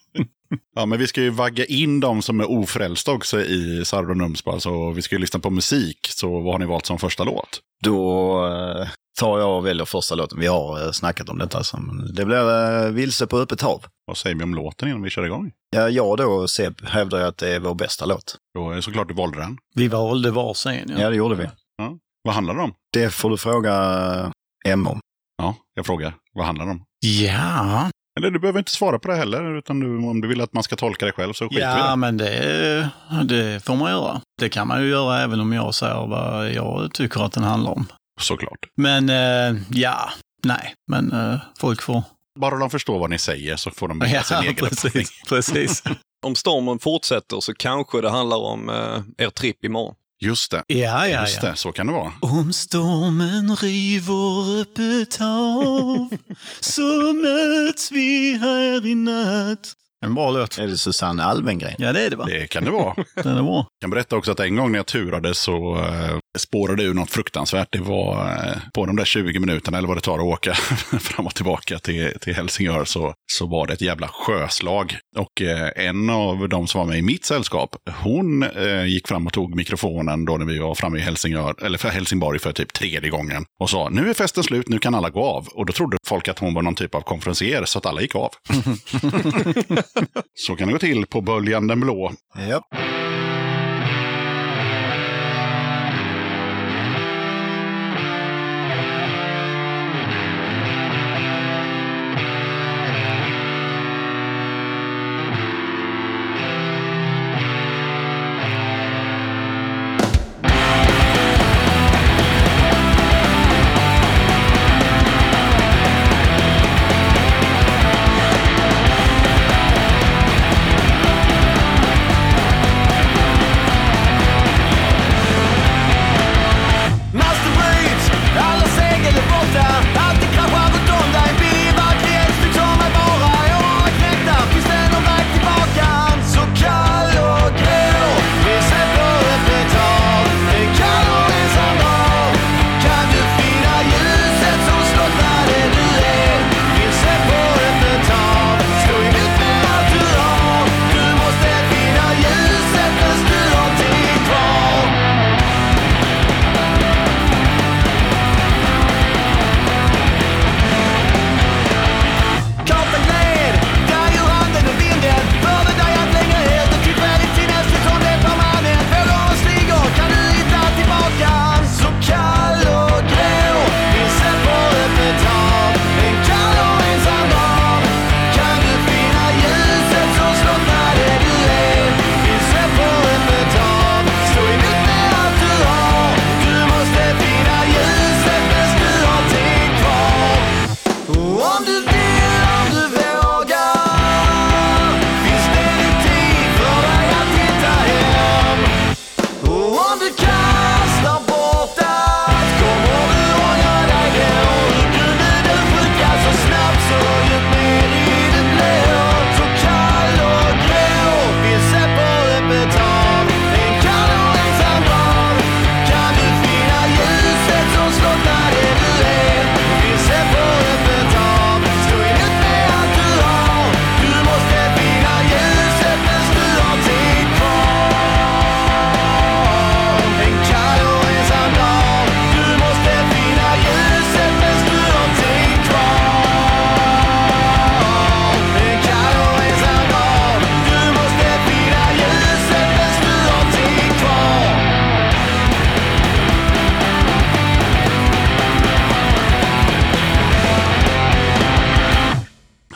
S2: *laughs* ja, men vi ska ju vagga in de som är ofrälsta också i Sardo Numspa, så vi ska ju lyssna på musik. Så vad har ni valt som första låt?
S6: Då eh, tar jag och väljer första låten. Vi har eh, snackat om detta. Så men det blir eh, Vilse på öppet hav.
S2: Vad säger vi om låten innan vi kör igång?
S6: Ja, jag då och Seb hävdar ju att det är vår bästa låt.
S2: Då är det såklart du valde den.
S8: Vi valde var scen, ja.
S6: Ja, det gjorde vi.
S2: Vad handlar det om?
S6: Det får du fråga eh, Emma om.
S2: Ja, jag frågar. Vad handlar det om?
S8: Ja,
S2: Eller du behöver inte svara på det heller, utan du, om du vill att man ska tolka det själv så skiter vi i
S8: ja
S2: det.
S8: men det, det får man göra. Det kan man ju göra även om jag säger vad jag tycker att den handlar om.
S2: Såklart.
S8: Men eh, ja, nej, men eh, folk får...
S2: Bara de förstår vad ni alltså säger så får de bilda sin
S8: Ja,
S2: egen uppfattning.
S8: precis. precis.
S7: Om stormen fortsätter så kanske det handlar om eh, er tripp imorgon.
S2: Just det.
S8: Ja, ja,
S2: Just
S8: ja.
S2: det, så kan det vara.
S8: Om stormen river upp ett hav så möts vi här i natt. En bra låt.
S6: Är det Susanne Alvengren?
S8: Ja, det är det va?
S2: Det kan det vara.
S8: Den är bra.
S2: Jag kan berätta också att en gång när jag turade så eh, spårade ur något fruktansvärt. Det var eh, på de där 20 minuterna eller vad det tar att åka *laughs* fram och tillbaka till, till Helsingör så, så var det ett jävla sjöslag. Och eh, en av de som var med i mitt sällskap, hon eh, gick fram och tog mikrofonen då när vi var framme i Helsingör, eller för Helsingborg för typ tredje gången och sa nu är festen slut, nu kan alla gå av. Och då trodde folk att hon var någon typ av konferencier så att alla gick av. *laughs* så kan det gå till på Böljan den blå.
S6: Ja.
S5: Thank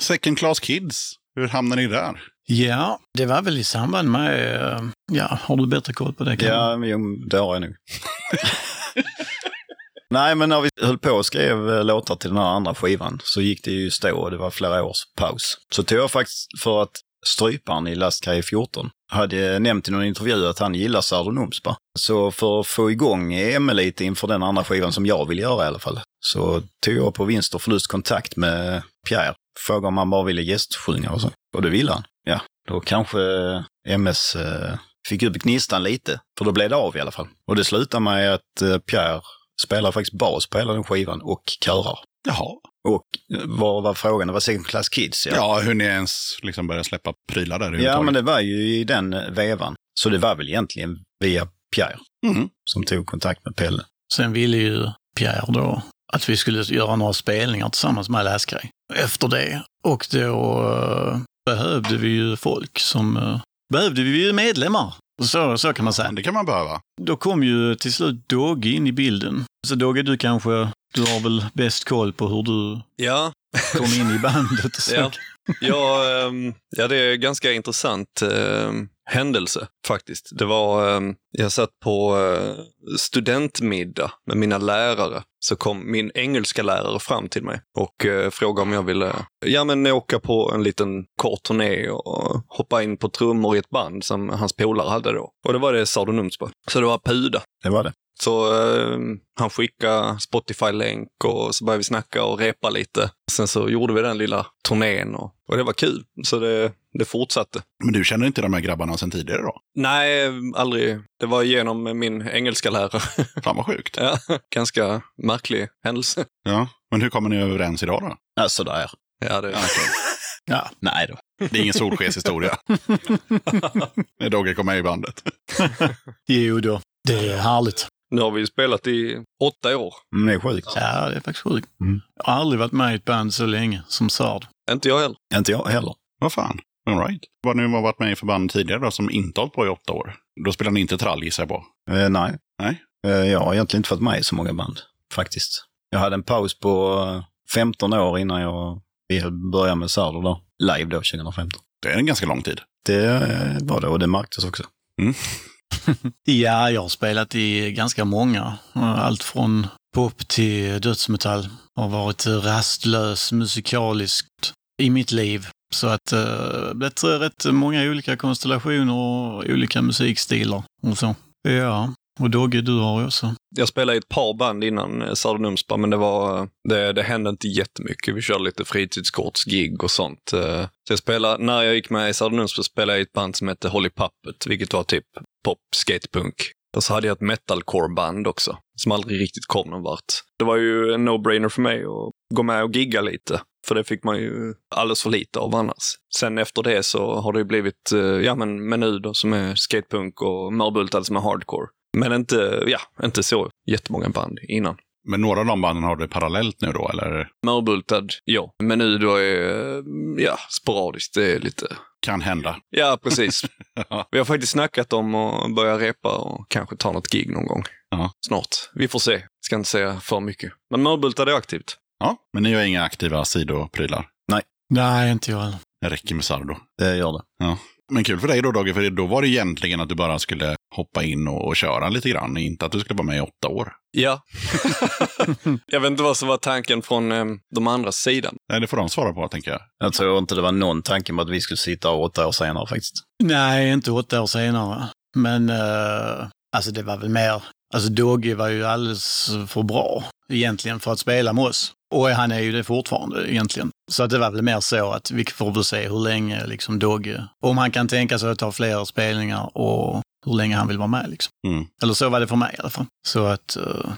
S2: Second Class Kids, hur hamnade ni där?
S8: Ja, det var väl i samband med... eh, Ja, har du bättre koll på det? Kalle?
S6: Ja, men jo, det har jag nog. *laughs* Nej, men när vi höll på och skrev eh, låtar till den här andra skivan så gick det ju i stå och det var flera års paus. Så tog jag faktiskt för att stryparen i Lastkaj 14 hade nämnt i någon intervju att han gillar Sardonomspa. Så för att få igång Emme lite inför den andra skivan som jag vill göra i alla fall, så tog jag på vinst och förlust kontakt med Pierre. Frågade om han bara ville gästsjunga och så. Och det ville han. Ja, då kanske MS eh, fick upp gnistan lite, för då blev det av i alla fall. Och det slutade med att eh, Pierre spelar faktiskt bas på hela den skivan och körar.
S2: Jaha.
S6: Och eh, vad var frågan? Det var Second Class Kids, ja.
S2: Ja, hur ni ens liksom började släppa prylar där
S6: Ja,
S2: överhuvudtaget.
S6: men det var ju i den eh, vevan. Så det var väl egentligen via Pierre
S2: Mm.
S6: som tog kontakt med Pelle.
S8: Sen ville ju Pierre då att vi skulle göra några spelningar tillsammans med Läsgrej efter det. Och då eh, behövde vi ju folk som... eh, behövde vi ju medlemmar. Så, så kan man säga.
S2: Det kan man behöva.
S8: Då kom ju till slut Dogge in i bilden. Så Dogge, du kanske... Du har väl bäst koll på hur du
S7: Ja,
S8: kom in i bandet? och
S6: *laughs*
S8: Så.
S7: Ja. *laughs* Ja, ehm, ja, det är en ganska intressant ehm, händelse faktiskt. Det var, ehm, jag satt på eh, studentmiddag med mina lärare. Så kom min engelska lärare fram till mig och eh, frågade om jag ville ja, men åka på en liten kort turné och hoppa in på trummor i ett band som hans polare hade då. Och det var det Sardonumspa. Så det var Puda.
S6: Det var det.
S7: Så eh, han skickade Spotify-länk och så började vi snacka och repa lite. Sen så gjorde vi den lilla turnén och, och det var kul. Så det, det fortsatte.
S2: Men du känner inte de här grabbarna sedan tidigare då?
S7: Nej, aldrig. Det var genom min engelska lärare. *laughs*
S2: Fan vad
S6: *laughs*
S2: sjukt.
S7: ja, ganska märklig händelse.
S2: Ja. Men hur kommer ni överens idag då?
S6: Ja, sådär.
S7: Ja, det,
S6: Ja, nej då.
S2: Det är ingen
S6: *laughs*
S2: solskenshistoria. När Dogge kom med i bandet.
S8: Jo då. Det är härligt.
S7: nu har vi ju spelat i åtta år.
S6: Men Mm, det är sjukt.
S8: Ja, det är faktiskt sjukt. Jag har aldrig varit med i ett band så länge som Sard.
S7: Inte jag heller.
S6: Inte jag heller.
S2: Vad fan. All right. Vad nu har varit med i för band tidigare då, som inte hållit på i åtta år. Då spelar ni inte trall gissar jag på.
S6: Eh, nej.
S2: Nej.
S6: Eh, jag har egentligen inte varit med i så många band, faktiskt. Jag hade en paus på eh, 15 år innan jag började med Sardo då. Live då, 2015.
S2: Det är en ganska lång tid.
S6: Det eh, var det och det märktes också.
S8: Ja, jag har spelat i ganska många. Allt från pop till dödsmetall. Har varit rastlös musikaliskt i mitt liv. Så att eh, det blivit rätt många olika konstellationer och olika musikstilar och så. Ja, och Dogge, du har ju också.
S7: Jag spelade i ett par band innan Sardonumspa, men det, var, eh, det, det hände inte jättemycket. Vi körde lite fritidskortsgig och sånt. eh. Så jag spelade, när jag gick med i Sardonumspa spelade jag i ett band som hette Holly Puppet, vilket var typ pop, skatepunk. Och så hade jag ett metalcore-band också, som aldrig riktigt kom någon vart. Det var ju en no-brainer för mig att gå med och gigga lite, för det fick man ju alldeles för lite av annars. Sen efter det så har det ju blivit, eh, ja men Menu då, som är skatepunk och Mörbultad som är hardcore. Men inte, ja, inte så jättemånga band innan.
S2: Men några av de banden har du parallellt nu då, eller?
S7: Mörbultad, ja. Men nu då är, ja, sporadiskt. Det är lite...
S2: Kan hända.
S7: Ja, precis. Vi har faktiskt snackat om att börja repa och kanske ta något gig någon gång.
S2: Ja.
S7: Snart. Vi får se. Ska inte säga för mycket. Men Mörbultad är aktivt.
S2: Ja, men ni har inga aktiva sidoprylar.
S8: Nej, inte jag heller.
S2: Det räcker med Sardo.
S6: Det gör det.
S2: Men kul för dig då Dogge, för då var det egentligen att du bara skulle hoppa in och, och köra lite grann, inte att du skulle vara med i åtta år.
S7: Ja. *laughs* jag vet inte vad som var tanken från eh, de andra sidan.
S2: Nej, det får de svara på tänker jag.
S6: Jag tror inte det var någon tanke med att vi skulle sitta här åtta år senare faktiskt.
S8: Nej, inte åtta år senare. Men eh, alltså det var väl mer, alltså Dogge var ju alldeles för bra egentligen för att spela med oss. Och han är ju det fortfarande egentligen. Så att det var väl mer så att vi får väl se hur länge liksom Dogge, om han kan tänka sig att ta fler spelningar och hur länge han vill vara med liksom.
S2: Mm.
S8: Eller så var det för mig i alla fall. Så att, eh,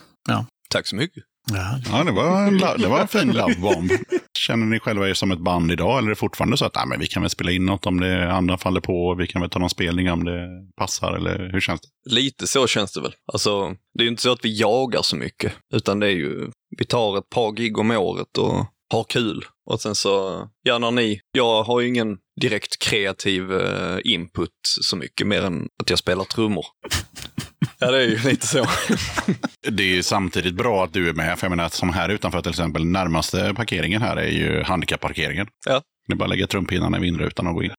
S7: Tack så mycket.
S8: ja.
S2: Ja, det var en, la- det var en fin
S6: *laughs*
S2: lovebomb. Känner ni själva er som ett band idag, eller är det fortfarande så att nej, men vi kan väl spela in något om det andra faller på, vi kan väl ta någon spelning om det passar, eller hur känns det?
S7: Lite så känns det väl. Alltså, det är ju inte så att vi jagar så mycket, utan det är ju, vi tar ett par gig om året och har kul. Och sen så, ja, när ni, jag har ju ingen direkt kreativ eh, input så mycket, mer än att jag spelar trummor. *laughs* ja, det är ju lite så.
S2: Det är ju samtidigt bra att du är med, för jag menar att som här utanför till exempel, närmaste parkeringen här är ju handikapparkeringen.
S7: Ja.
S2: Det är bara att lägga trumpinnarna i vindrutan och gå in.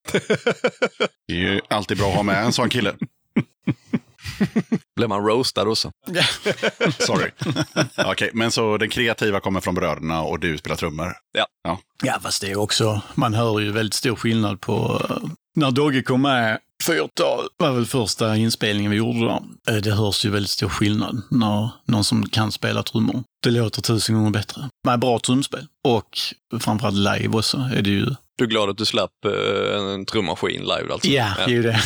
S2: Det är ju alltid bra att ha med en sån kille.
S7: Blev man roastad också?
S2: Sorry. Okej, men så den kreativa kommer från bröderna och du spelar trummor.
S8: Ja, fast det är också, man hör ju väldigt stor skillnad på eh, när Dogge kom med Fyrtal var väl första inspelningen vi gjorde då. Eh, Det hörs ju väldigt stor skillnad när någon som kan spela trummor. Det låter tusen gånger bättre. Med bra trumspel. Och framförallt live också är det ju.
S7: Du är glad att du slapp eh, en trummaskin live alltså?
S8: Ja, det är ju det.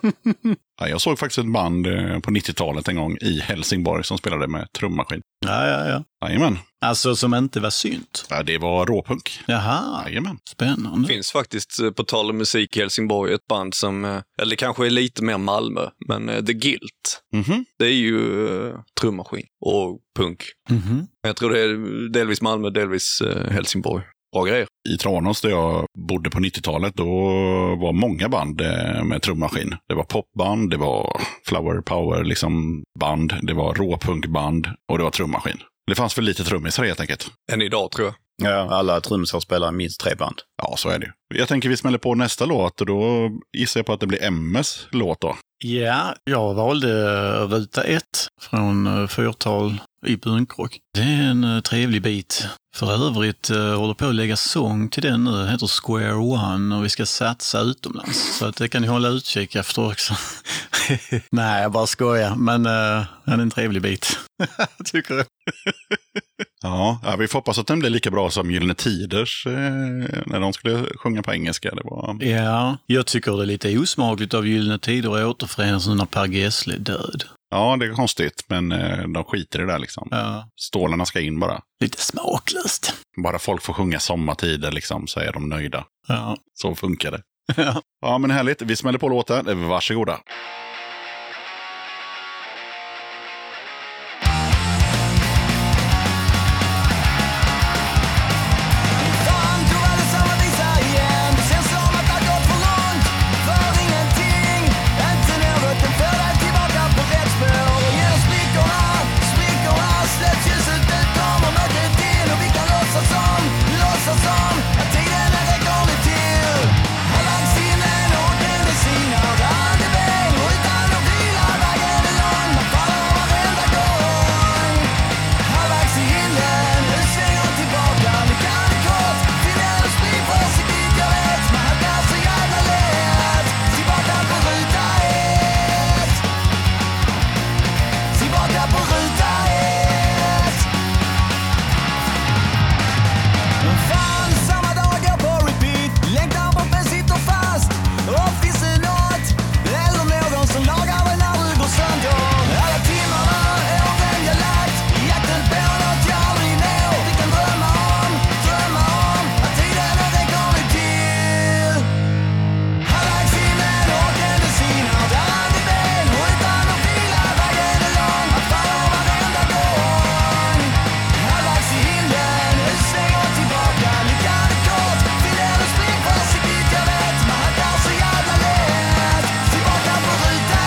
S8: *laughs*
S2: Ja, jag såg faktiskt ett band eh, på 90-talet en gång i Helsingborg som spelade med trummaskin.
S8: Ja, ja, ja.
S2: Jajamän,
S8: Alltså som inte var synt.
S2: ja, det var råpunk.
S8: Jaha,
S2: Jajamän.
S8: spännande.
S7: Det finns faktiskt, eh, på tal om musik i Helsingborg, ett band som, eh, eller kanske är lite mer Malmö, men eh, The Guilt.
S2: Mhm.
S7: Det är ju eh, trummaskin och punk.
S8: Mhm.
S7: Men Jag tror det är delvis Malmö, delvis eh, Helsingborg. Bra grejer.
S2: I Tranås där jag bodde på 90-talet, då var många band eh, med trummaskin. Det var popband, det var flower power liksom band, det var råpunkband och det var trummaskin. Det fanns för lite trummisar helt enkelt.
S7: Än idag tror jag.
S6: Ja, alla trummisar spelar i minst tre band.
S2: Ja, så är det ju. Jag tänker vi smäller på nästa låt och då gissar jag på att det blir MS låt då.
S8: Ja, jag valde eh, ruta ett från eh, Fyrtal i Bunkrock. Det är en eh, trevlig bit. För övrigt eh, håller på att lägga sång till den nu. Den heter Square One och vi ska satsa utomlands. Så att det kan ni hålla utkik efter också. *laughs* Nej, jag bara skojar. Men eh, den är en trevlig bit. *laughs* Tycker jag.
S2: Ja, ja, vi får hoppas att den blir lika bra som Gyllene Tiders eh, när de skulle sjunga på engelska. Det var...
S8: Ja, jag tycker det är lite osmakligt av Gyllene Tider att återförenas nu när Per Gessle är död.
S2: Ja, det är konstigt, men eh, de skiter i det där liksom.
S8: Ja,
S2: Stålarna ska in bara.
S8: lite smaklöst.
S2: Bara folk får sjunga sommartider liksom, så är de nöjda.
S8: Ja.
S2: Så funkar det.
S8: Ja.
S2: ja, men härligt. Vi smäller på låten. Varsågoda.
S5: Fan, tyvärr detsamma visar igen Det känns som att det har gått för långt För ingenting, inte något Den för dig tillbaka på rätt spår Och genom sprickorna, sprickorna släpps ljuset ut Kom och möt ett till Och vi kan låtsas som, låtsas som Att tiden är rekordlig till Har lagt sinnen och den är sina Randebäng och utan att vila Vägen är lång, man faller varenda gång Halvvägs i himlen, nu svänger hon tillbaka Nu kan det kort, finner en spring för sig dit jag vet Man hackar så jävla lätt Tillbaka på ruta ett Tillbaka på ruta ett Fan, samma dagar på repeat Längtar bort men sitter fast Och finns det nåt eller någon som lagar mig när du går sönder? Alla timmarna, åren jag lagt i jakten på nåt jag aldrig når Vi kan drömma om, drömma om att tiden är rekordlig till Han lagt sinnen och den är sina Där i ben och utan att vila Vägen är lång, han faller varenda gång Han lagt i himlen, nu svänger han tillbaka Lyckan är kort, till en spring för sig dit jag vet Man hackar så jävla lätt Tillbaka på ruta ett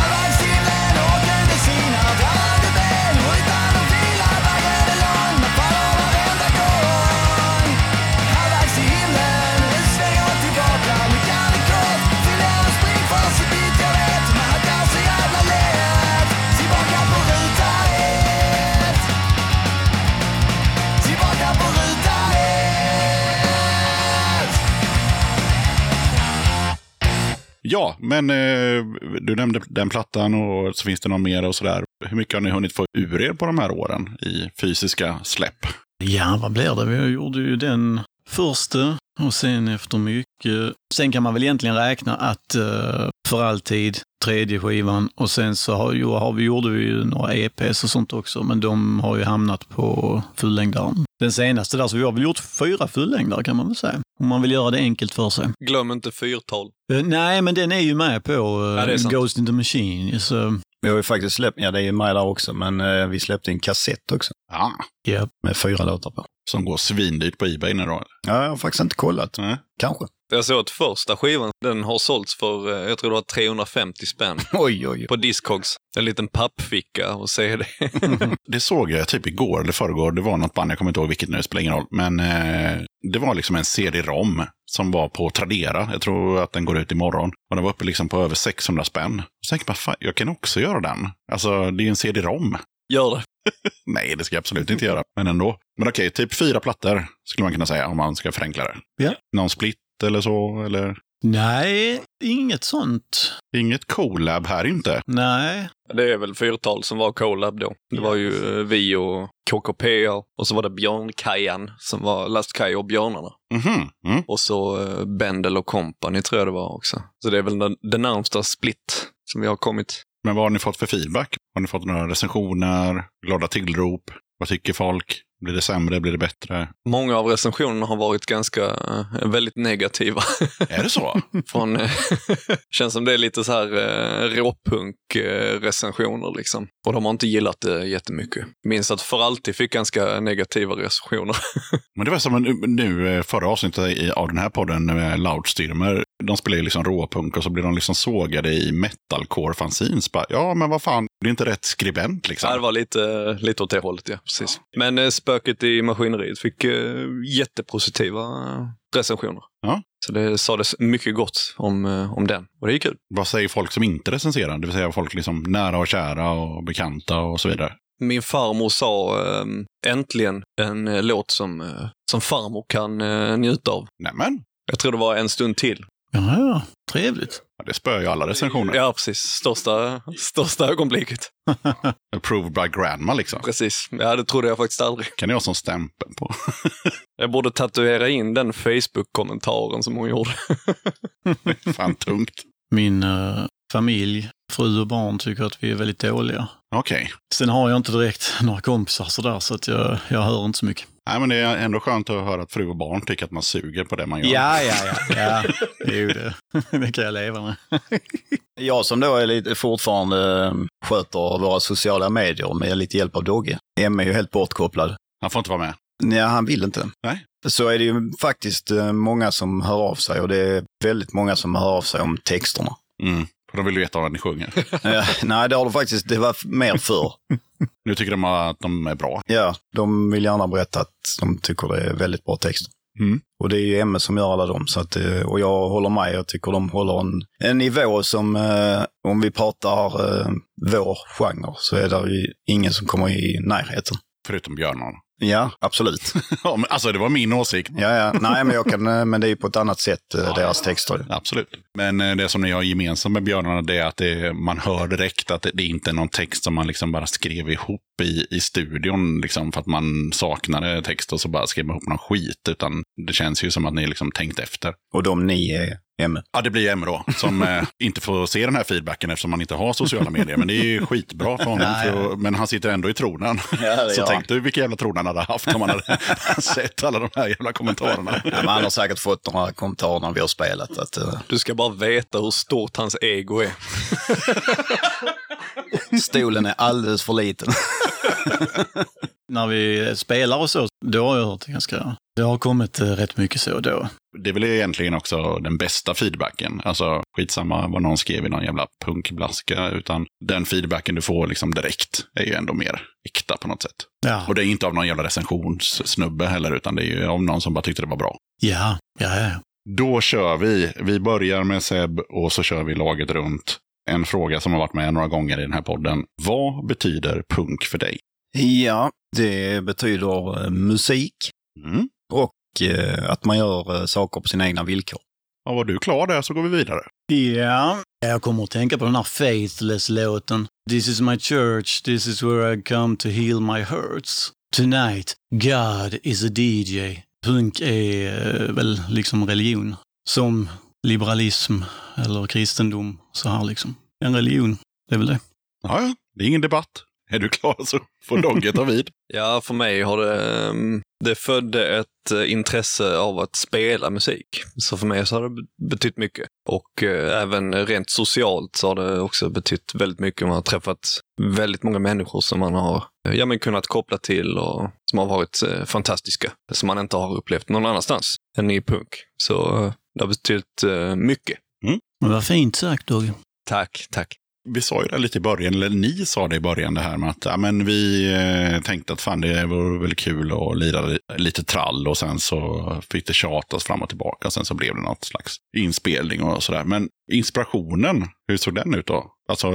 S5: Halvvägs himlen och den är sina Rörande ben och utan att vila Vägen är lång, man faller varenda gång Halvvägs i himlen, nu svänger hon tillbaka Lyckan är kort, fyller en spring för sig dit jag vet Man hackar så jävla lätt Tillbaka på ruta ett Tillbaka på ruta ett
S2: Ja, men eh, du nämnde den plattan och så finns det någon mer och sådär. Hur mycket har ni hunnit få ur er på de här åren i fysiska släpp?
S8: Ja, vad blir det? Vi gjorde ju den första och sen efter mycket. Sen kan man väl egentligen räkna att eh, för alltid tredje skivan och sen så har, jo, har vi, gjorde vi ju några EPs och sånt också, men de har ju hamnat på fullängdaren. Den senaste där, så vi har väl gjort fyra fullängdare kan man väl säga. Om man vill göra det enkelt för sig.
S7: Glöm inte fyrtal.
S8: Eh, nej, men den är ju med på eh,
S7: Ja, det är sant.
S8: Ghost in the Machine. Så,
S6: Vi har ju faktiskt släppt, ja det är ju med där också, men eh, vi släppte en kassett också
S2: Ja,
S8: ja.
S6: med fyra låtar på.
S2: som går svindyrt på Ebay nu då.
S6: Ja, jag har faktiskt inte kollat.
S2: Nej.
S6: Kanske.
S7: Jag såg att första skivan, den har sålts för, eh, jag tror det var 350 spänn
S6: Oj, oj, oj.
S7: på Discogs. En liten pappficka och CD.
S2: Det såg jag typ igår eller förrgår. Det var något band, jag kommer inte ihåg vilket nu, det spelar ingen roll. Men eh, det var liksom en CD-ROM som var på Tradera. Jag tror att den går ut imorgon. Och den var uppe liksom på över 600 spänn. Så tänkte man, fan, jag kan också göra den. Alltså, det är ju en CD-ROM.
S7: *laughs* Gör det.
S2: Nej, det ska jag absolut inte göra. Men ändå. Men okej, typ fyra plattor skulle man kunna säga om man ska förenkla det.
S8: Ja.
S2: Någon split eller så, eller?
S8: Nej, inget sånt.
S2: Inget collab här inte.
S8: Nej.
S7: Det är väl fyrtal som var collab då. Det var ju eh, vi och KKP och så var det Björnkajan som var Lastkaja och Björnarna.
S2: Mhm. Mm.
S7: Och så eh, Bendel och Company tror jag det var också. Så det är väl den, den närmsta split som vi har kommit.
S2: Men vad har ni fått för feedback? Har ni fått några recensioner? Glada tillrop? Vad tycker folk? Blir det sämre? Blir det bättre?
S7: Många av recensionerna har varit ganska, eh, väldigt negativa. *laughs*
S2: Är det så?
S7: Från, eh, *laughs* känns som det är lite så här eh, råpunk-recensioner liksom. Och de har inte gillat det jättemycket. Minns att För Alltid fick ganska negativa recensioner.
S2: *laughs* Men det var som en- nu eh, förra avsnittet i- av den här podden, eh, Loudstyrmer. De spelar ju liksom råpunk och så blir de liksom sågade i metalcore-fanzines. Bara, Ja, men vad fan, det är inte rätt skribent liksom.
S7: Ja, det var lite, eh, lite åt det hållet, ja. Precis. Men eh, Spöket i Maskineriet fick eh, jättepositiva eh, recensioner.
S2: Ja.
S7: Så det sades mycket gott om, eh, om den. Och det är kul.
S2: Vad säger folk som inte recenserar? Det vill säga folk liksom nära och kära och bekanta och så vidare.
S7: Min farmor sa ehm, äntligen en eh, låt som, eh, som farmor kan eh, njuta av.
S2: Nämen,
S7: Jag tror det var en stund till.
S8: Ja, ja. Trevligt.
S2: ja, det spöar ju alla recensioner.
S7: Ja, precis. Största, största ögonblicket.
S2: Approved by grandma liksom.
S7: Precis. Ja, det trodde jag faktiskt aldrig.
S2: Kan jag ha som stämpel på. *laughs*
S7: Jag borde tatuera in den Facebook-kommentaren som hon gjorde.
S2: fan tungt.
S8: Min eh, familj, fru och barn tycker att vi är väldigt dåliga.
S2: Okej.
S8: Sen har jag inte direkt *laughs* några kompisar sådär, så att jag, jag hör inte så mycket.
S2: Nej, men det är ändå skönt att höra att fru och barn tycker att man suger på det man gör.
S8: ja, ja. ja. Jo, det, *laughs* det kan jag leva med.
S6: *laughs* Jag som då är lite, fortfarande eh, sköter våra sociala medier med lite hjälp av Dogge. Emma är ju helt bortkopplad.
S2: Han får inte vara med.
S6: Nej, han vill inte.
S2: Nej.
S6: Så är det ju faktiskt eh, många som hör av sig och det är väldigt många som hör av sig om texterna.
S2: Mm. För de vill ju veta vad ni sjunger.
S6: Eh, Nej, det har de faktiskt, det var f- mer förr.
S2: Nu tycker de att de är bra.
S6: Ja, de vill gärna berätta att de tycker det är väldigt bra texter.
S2: Mm.
S6: Och det är ju Emme som gör alla dem. Så att, eh, och jag håller med, jag tycker de håller en, en nivå som, eh, om vi pratar eh, vår genre, så är det ju ingen som kommer i närheten.
S2: Förutom Björnman.
S6: Ja, absolut.
S2: *laughs* Ja, men alltså, det var min åsikt.
S6: Ja, ja. Nej, men, jag kan, eh, men det är ju på ett annat sätt, eh, deras texter.
S2: Absolut. Men eh, det som ni har gemensamt med björnarna det är att det, man hör direkt att det, det inte är någon text som man liksom bara skrev ihop i, i studion liksom, för att man saknade text och så bara skrev man ihop någon skit. Utan det känns ju som att ni liksom tänkt efter.
S6: Och de ni är Emme.
S2: Ja, det blir M då, som eh, inte får se den här feedbacken eftersom man inte har sociala medier. Men det är ju skitbra för honom, för, att- men han sitter ändå i tronen.
S6: Ja,
S2: Så
S6: ja.
S2: tänk du vilken jävla tron han hade haft om han hade *laughs* sett alla de här jävla kommentarerna.
S6: Ja, men han har säkert fått några kommentarer när vi har spelat. Att, eh,
S7: Du ska bara veta hur stort hans ego är.
S6: stolen är alldeles för liten.
S8: När vi spelar och så, då har jag hört ganska... Det har kommit eh, rätt mycket så då.
S2: Det är väl egentligen också den bästa feedbacken. Alltså skitsamma vad någon skrev i någon jävla punkblaska, utan den feedbacken du får liksom direkt är ju ändå mer äkta på något sätt.
S8: Ja,
S2: Och det är inte av någon jävla recensionssnubbe heller, utan det är ju om någon som bara tyckte det var bra.
S8: ja, ja. ja.
S2: Då kör vi. Vi börjar med Seb och så kör vi laget runt. En fråga som har varit med några gånger i den här podden. Vad betyder punk för dig?
S6: *laughs* Ja, det betyder eh, musik
S2: Mm.
S6: och eh, att man gör eh, saker på sina egna villkor.
S2: Ja, var du klar där så går vi vidare.
S8: Ja, jag kommer att tänka på den här Faithless-låten. This is my church, this is where I come to heal my hurts. Tonight, God is a DJ. Punk är eh, väl liksom religion. Som liberalism eller kristendom, så här liksom. En religion. Det är väl det.
S2: Ja, ja, det är ingen debatt. Är du klar så får Dogge ta vid.
S7: Ja, för mig har det, ehm, det födde ett eh, intresse av att spela musik. Så för mig så har det be- betytt mycket. Och eh, även rent socialt så har det också betytt väldigt mycket. Man har träffat väldigt många människor som man har eh, ja, men kunnat koppla till och som har varit eh, fantastiska. Som man inte har upplevt någon annanstans än i punk. Så eh, det har betytt eh, mycket.
S8: Men vad fint sagt, Dogge.
S7: Tack, tack.
S2: Vi sa ju det lite i början, eller ni sa det i början det här med att ja, men vi eh, tänkte att fan det vore väl kul att lira li- lite trall och sen så fick det tjatas fram och tillbaka. Sen så blev det något slags inspelning och sådär. Men inspirationen, hur såg den ut då? Alltså,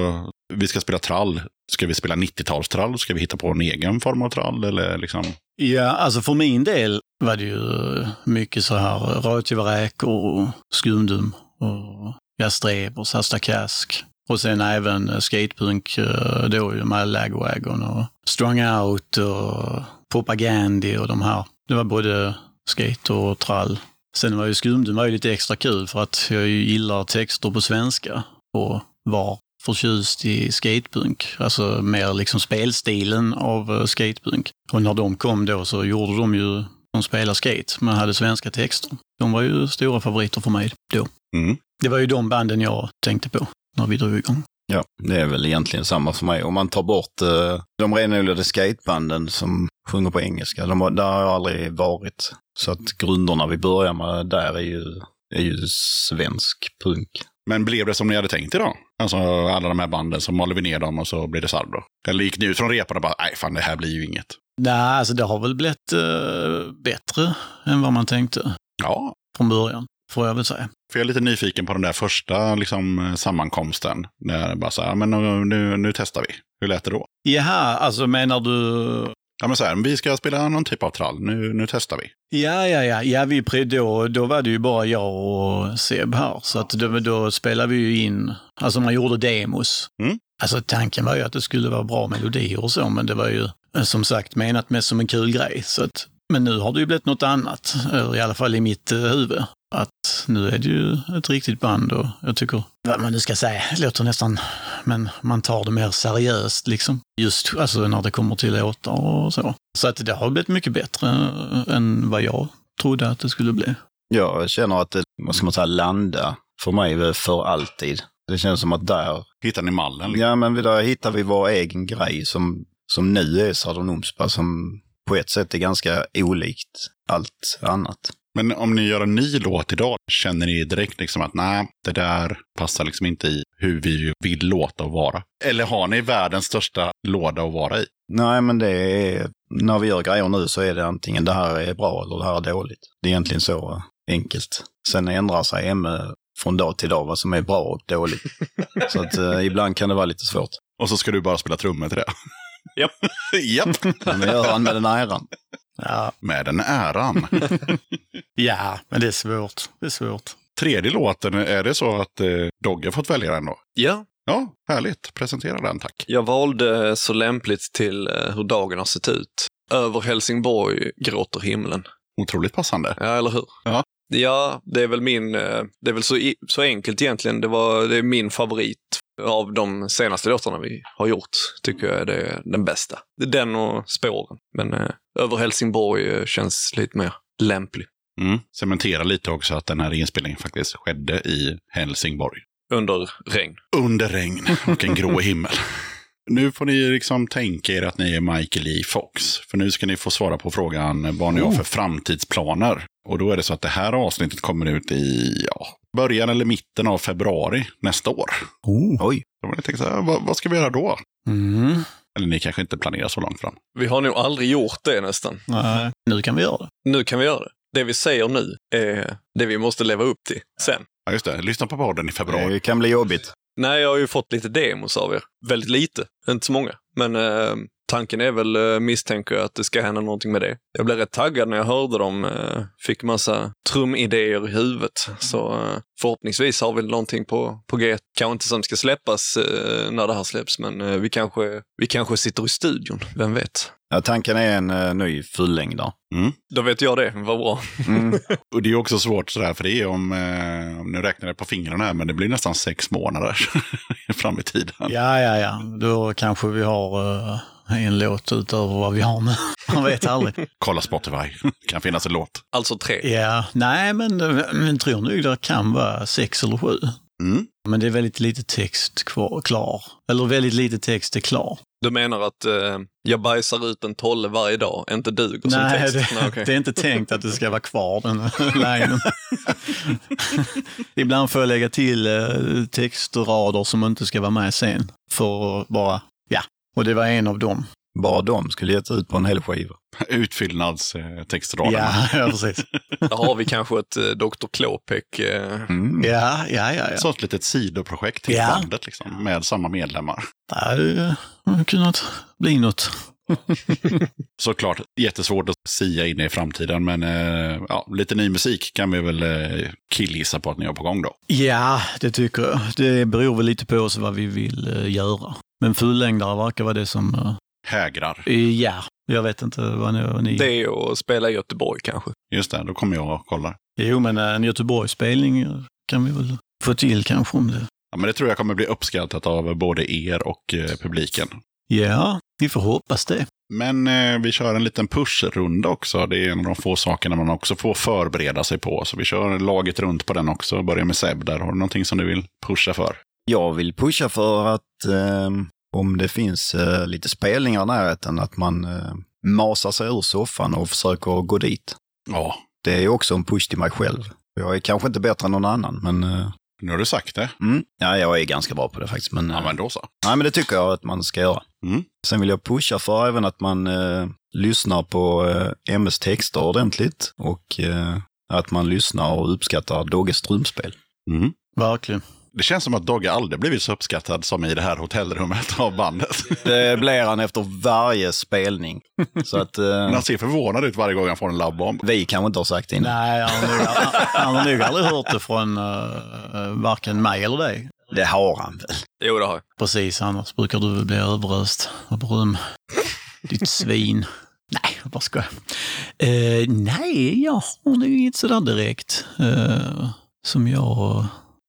S2: vi ska spela trall. Ska vi spela 90-talstrall? Ska vi hitta på en egen form av trall? Eller liksom...
S8: Ja, alltså för min del var det ju mycket så här rödtjuvräkor och skumdum och jastreb och sasta kask. Och sen även eh, skatepunk eh, då ju med Lagwagon och Strong Out och Propagandi och de här. Det var både skate och trall. Sen var ju skumdum var ju lite extra kul för att jag ju gillar texter på svenska och var förtjust i skatepunk, alltså mer liksom spelstilen av eh, skatepunk. Och när de kom då så gjorde de ju, de spelade skate, men hade svenska texter. De var ju stora favoriter för mig då.
S2: Mm.
S8: Det var ju de banden jag tänkte på när vi drog igång.
S6: Ja, det är väl egentligen samma för mig. Om man tar bort eh, de renodlade skatebanden som sjunger på engelska, de, har- där har jag aldrig varit. Så att grunderna vi börjar med där är ju, är ju svensk punk.
S2: Men blev det som ni hade tänkt idag? Alltså alla de här banden, så maler vi ner dem och så blir det sarv då? Eller gick ni ut från repan och bara, nej fan det här blir ju inget.
S8: Nej, alltså det har väl blivit eh, bättre än vad man tänkte
S2: Ja,
S8: från början, får jag väl säga.
S2: För jag är lite nyfiken på den där första liksom, sammankomsten. Där det bara så här, men nu, nu, nu testar vi. Hur lät det då?
S8: Jaha, alltså menar du
S2: Ja, men så här, vi ska spela någon typ av trall. Nu, nu testar vi.
S8: Ja, ja, ja. ja vi, pre- då, då var det ju bara jag och Seb här, så att då, då spelade vi ju in, alltså man gjorde demos.
S2: Mm.
S8: Alltså tanken var ju att det skulle vara bra melodier och så, men det var ju eh, som sagt menat mest som en kul grej. Så att, men nu har det ju blivit något annat, eller i alla fall i mitt eh, huvud. Att nu är det ju ett riktigt band och jag tycker, vad man nu ska säga, det låter nästan, men man tar det mer seriöst liksom. Just alltså när det kommer till låtar och så. Så att det har blivit mycket bättre eh, än vad jag trodde att det skulle bli.
S6: Jag känner att det, vad ska man säga, landa för mig är för alltid. Det känns som att där,
S2: Hittar ni mallen? Liksom?
S6: ja men där hittar vi vår egen grej som, som nu är Southern Omspa, som på ett sätt är ganska olikt allt annat.
S2: Men om ni gör en ny låt idag, känner ni direkt liksom att nej, det där passar liksom inte i hur vi vill låta och vara? Eller har ni världens största låda att vara i?
S6: Nej, men det är, när vi gör grejer nu så är det antingen det här är bra eller det här är dåligt. Det är egentligen så eh, enkelt. Sen ändrar sig ME från dag till dag vad som är bra och dåligt. så att eh, ibland kan det vara lite svårt.
S2: Och så ska du bara spela trummor till det?
S7: Japp.
S2: *laughs* Japp.
S6: Men jag gör han med den äran.
S8: Ja,
S2: Med den äran.
S8: ja men det är svårt. Det är svårt.
S2: Tredje låten, är det så att eh, Dogge har fått välja den då?
S7: Ja,
S2: Ja, härligt. Presentera den tack.
S7: Jag valde så lämpligt till eh, hur dagen har sett ut. Över Helsingborg gråter himlen.
S2: Otroligt passande.
S7: Ja, eller hur?
S2: Ja.
S7: Ja, det är väl min, eh, det är väl så, i- så enkelt egentligen. Det, var, det är min favorit av de senaste låtarna vi har gjort. Tycker jag är det, den bästa. Det är Den och spåren. Men eh, Över Helsingborg eh, känns lite mer lämplig.
S2: Mm. Cementera lite också att den här inspelningen faktiskt skedde i Helsingborg.
S7: Under regn.
S2: Under regn och en grå himmel. Nu får ni liksom tänka er att ni är Michael E. Fox. För nu ska ni få svara på frågan vad ni har för framtidsplaner. Och då är det så att det här avsnittet kommer ut i ja, början eller mitten av februari nästa år.
S8: Oh.
S6: Oj,
S2: Då har ni tänkt så här, vad, vad ska vi göra då?
S8: Mm.
S2: Eller ni kanske inte planerar så långt fram.
S7: Vi har nog aldrig gjort det nästan.
S8: Nej. Nu kan vi göra det.
S7: Nu kan vi göra det. Det vi säger nu är det vi måste leva upp till sen.
S2: Ja, just det. Lyssna på podden i februari.
S6: det kan bli jobbigt.
S7: Nej, jag har ju fått lite demos av er. Väldigt lite, inte så många. Men eh, tanken är väl, eh, misstänker jag, att det ska hända någonting med det. Jag blev rätt taggad när jag hörde dem. Eh, fick massa trumidéer i huvudet. Så eh, förhoppningsvis har vi någonting på, på G. Kanske inte som ska släppas eh, när det här släpps, men eh, vi, kanske, vi kanske sitter i studion. Vem vet?
S6: Ja, tanken är en eh, ny fullängdare.
S7: Då vet jag det, vad bra.
S6: Mm.
S2: Och det är också svårt sådär, för det är om, eh, nu räknar jag på fingrarna här, men det blir nästan sex månader *laughs* fram i tiden.
S8: Ja, ja, ja. Då kanske vi har eh, en låt utöver vad vi har nu. *laughs* Man vet aldrig.
S2: Kolla Spotify, kan finnas en låt.
S7: Alltså tre.
S8: Ja, nej, men eh, men tror nog det kan vara sex eller sju.
S2: Mm.
S8: Men det är väldigt lite text kvar, klar. Eller väldigt lite text är klar.
S7: Du menar att eh, jag bajsar ut en tolle varje dag, inte duger som
S8: Nej,
S7: text?
S8: det,
S7: Nej, okej.
S8: det är inte tänkt att det ska vara kvar den linjen. Ibland får jag lägga till eh, textrader som inte ska vara med sen. För att bara, ja. Och det var en av dem.
S6: Bara de skulle gett ut på en hel skiva.
S2: eh, Utfyllnadstextraderna.
S8: Ja, *laughs* ja, precis.
S7: Där har vi kanske ett eh, Dr. Klopek. Eh,
S6: Mm.
S8: Ja, ja, ja. ja.
S2: Så ett litet sidoprojekt till
S8: Ja.
S2: bandet liksom, med samma medlemmar.
S8: Det hade eh, kunnat bli något.
S2: Såklart jättesvårt att sia in i framtiden, men eh, ja, lite ny musik kan vi väl eh, killgissa på att ni har på gång då.
S8: Ja, det tycker jag. Det beror väl lite på oss vad vi vill eh, göra. Men fullängdare verkar vara det som... eh,
S2: Hägrar.
S8: Ja, jag vet inte vad ni... ni...
S7: det och spela i Göteborg kanske.
S2: Just det, då kommer jag och kollar.
S8: Jo, men eh, en Göteborgsspelning eh, kan vi väl få till kanske om det.
S2: Ja, men det tror jag kommer bli uppskattat av både er och eh, publiken.
S8: Ja, vi får hoppas det.
S2: Men eh, vi kör en liten pushrunda också. Det är en av de få sakerna man också får förbereda sig på. Så vi kör laget runt på den också. Börjar med Seb där. Har du någonting som du vill pusha för?
S6: Jag vill pusha för att eh, om det finns eh, lite spelningar i närheten, att man eh, masar sig ur soffan och försöker gå dit.
S2: Ja,
S6: Det är också en push till mig själv. Jag är kanske inte bättre än någon annan, men... Eh,
S2: nu har du sagt det.
S6: mm, ja, jag är ganska bra på det faktiskt. Men, eh,
S2: Ja, men då så.
S6: Nej, men det tycker jag att man ska göra.
S2: Mm.
S6: Sen vill jag pusha för även att man eh, lyssnar på eh, MS texter ordentligt och eh, att man lyssnar och uppskattar Dogges strumspel.
S2: Mm.
S8: Verkligen.
S2: Det känns som att Dogge aldrig blivit så uppskattad som i det här hotellrummet av *laughs* bandet.
S6: Det blir han efter
S2: *laughs*
S6: varje spelning. Så att
S2: Men
S6: eh,
S2: han ser förvånad ut varje gång han får en labbomb.
S6: vi kanske inte har sagt det innan.
S8: Nej, han har nog- han- han har nog aldrig hört det från eh, varken mig eller dig.
S6: Det har han väl.
S7: Jo, det har jag.
S8: Precis, annars brukar du väl bli överöst av beröm. Ditt svin. Nej, jag bara skojar. Eh, nej, jag har nog inget sådär direkt eh, som jag...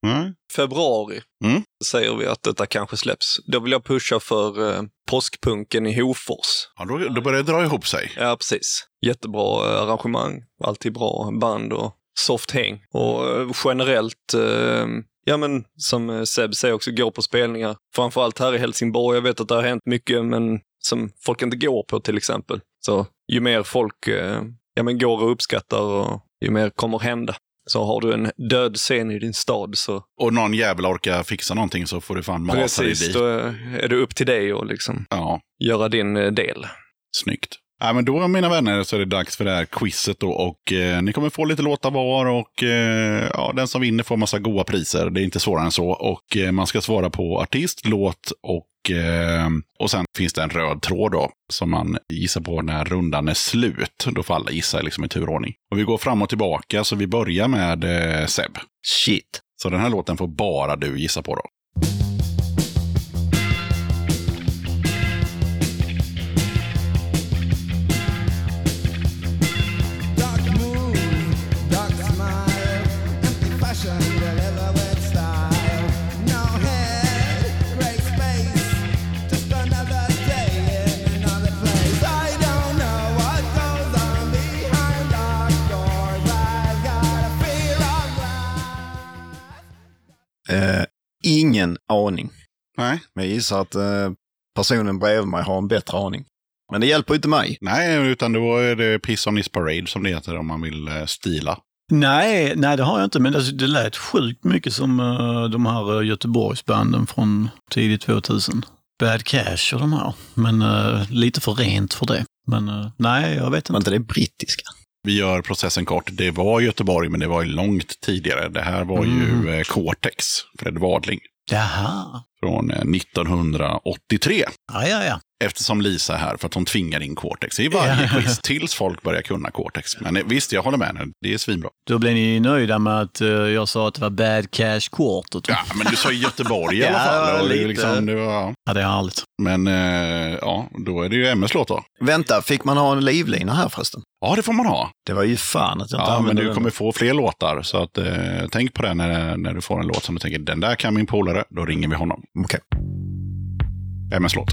S2: Mm.
S7: Februari
S2: Mm.
S7: säger vi att detta kanske släpps. Då vill jag pusha för eh, påskpunken i Hofors.
S2: Ja, då, då börjar det dra ihop sig.
S7: Ja, precis. Jättebra eh, arrangemang. Alltid bra band och soft häng. Och eh, generellt, eh, ja men som eh, Seb säger också, gå på spelningar. Framförallt här i Helsingborg. Jag vet att det har hänt mycket, men som folk inte går på till exempel. Så ju mer folk eh, ja, men går och uppskattar och ju mer kommer hända. Så har du en död scen i din stad så
S2: Och någon jävel orkar fixa någonting så får du fan mata dig
S7: precis,
S2: dit.
S7: då eh, är det upp till dig att liksom
S2: Ja.
S7: göra din eh, del.
S2: Snyggt. Ja, men då mina vänner så är det dags för det här quizet då och eh, ni kommer få lite låtar var och eh, ja, den som vinner får massa goa priser. Det är inte svårare än så och eh, man ska svara på artist, låt och, eh, och sen finns det en röd tråd då som man gissar på när rundan är slut. Då får alla gissa liksom i turordning. Och vi går fram och tillbaka så vi börjar med eh, Seb.
S6: Shit.
S2: Så den här låten får bara du gissa på då.
S9: Dark mood, dark smile, empty fashion, deliver with style. No head, gray space, just another day in another place. I don't know what goes on behind locked doors. I've got a fear of life.
S6: Eh, ingen aning.
S2: Nej.
S6: Men jag gissar att eh, personen bredvid mig har en bättre aning. Men det hjälper ju inte mig.
S2: Nej, utan då är det Piss on his parade som det heter om man vill eh, stila.
S8: Nej, nej det har jag inte, men alltså, det lät sjukt mycket som eh, de här eh, Göteborgsbanden från tidigt 2000. Bad Cash och de här. Men eh, lite för rent för det. Men eh, nej, jag vet
S6: Var
S8: inte.
S6: inte det brittiska?
S2: Vi gör processen kort. Det var Göteborg, men det var ju långt tidigare. Det här var
S8: Mm.
S2: ju eh, Cortex, Fred Wadling,
S8: Jaha.
S2: från eh, 1983.
S8: Ja, ja, ja.
S2: Eftersom Lisa är här för att hon tvingar in Cortex i varje quiz tills folk börjar kunna Cortex. Men eh, visst, jag håller med henne. Det är svinbra.
S8: Då blir ni ju nöjda med att eh, jag sa att det var bad cash quartet.
S2: Ja, men du sa Göteborg i alla
S8: *laughs* Ja,
S2: fall. och det är
S8: lite.
S2: Liksom, det var, ja.
S8: Ja, det är härligt.
S2: Men eh, ja, då är det ju MS låt då.
S6: Vänta, fick man ha en livlina här förresten?
S2: Ja, det får man ha.
S6: Det var ju fan att jag
S2: Ja,
S6: inte
S2: men
S6: använde
S2: du
S6: den.
S2: kommer få fler låtar. Så att, eh, tänk på det när, när du får en låt som du tänker, den där kan min polare, då ringer vi honom.
S6: Okej.
S2: MS-låt.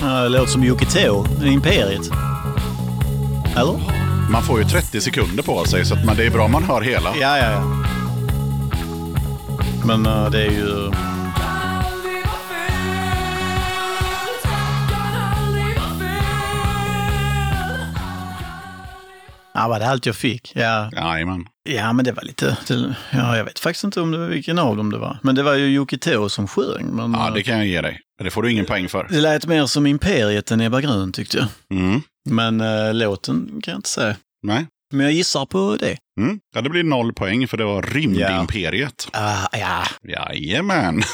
S8: Ja, Det låter som Jocke Tå, Imperiet. Eller?
S2: Man får ju 30 sekunder på sig, så att man, det är bra om man hör hela.
S8: Ja, ja, ja. Men eh, det är ju... Ja, var det allt jag fick? Ja,
S2: Jajamän.
S8: ja men det var lite... Det, ja, jag vet faktiskt inte om det var vilken av dem det var. Men det var ju Jocke Tå som sjöng. Men,
S2: Ja,
S8: eh,
S2: det kan jag ge dig. Det får du ingen poäng för.
S8: det lät mer som Imperiet än Ebba Grön tyckte jag.
S2: Mm.
S8: Men eh, låten kan jag inte säga.
S2: Nej.
S8: Men jag gissar på det.
S2: Mm. Ja, det blir noll poäng, för det var Rymdimperiet.
S8: Ah, ja,
S2: Jajamän. *laughs*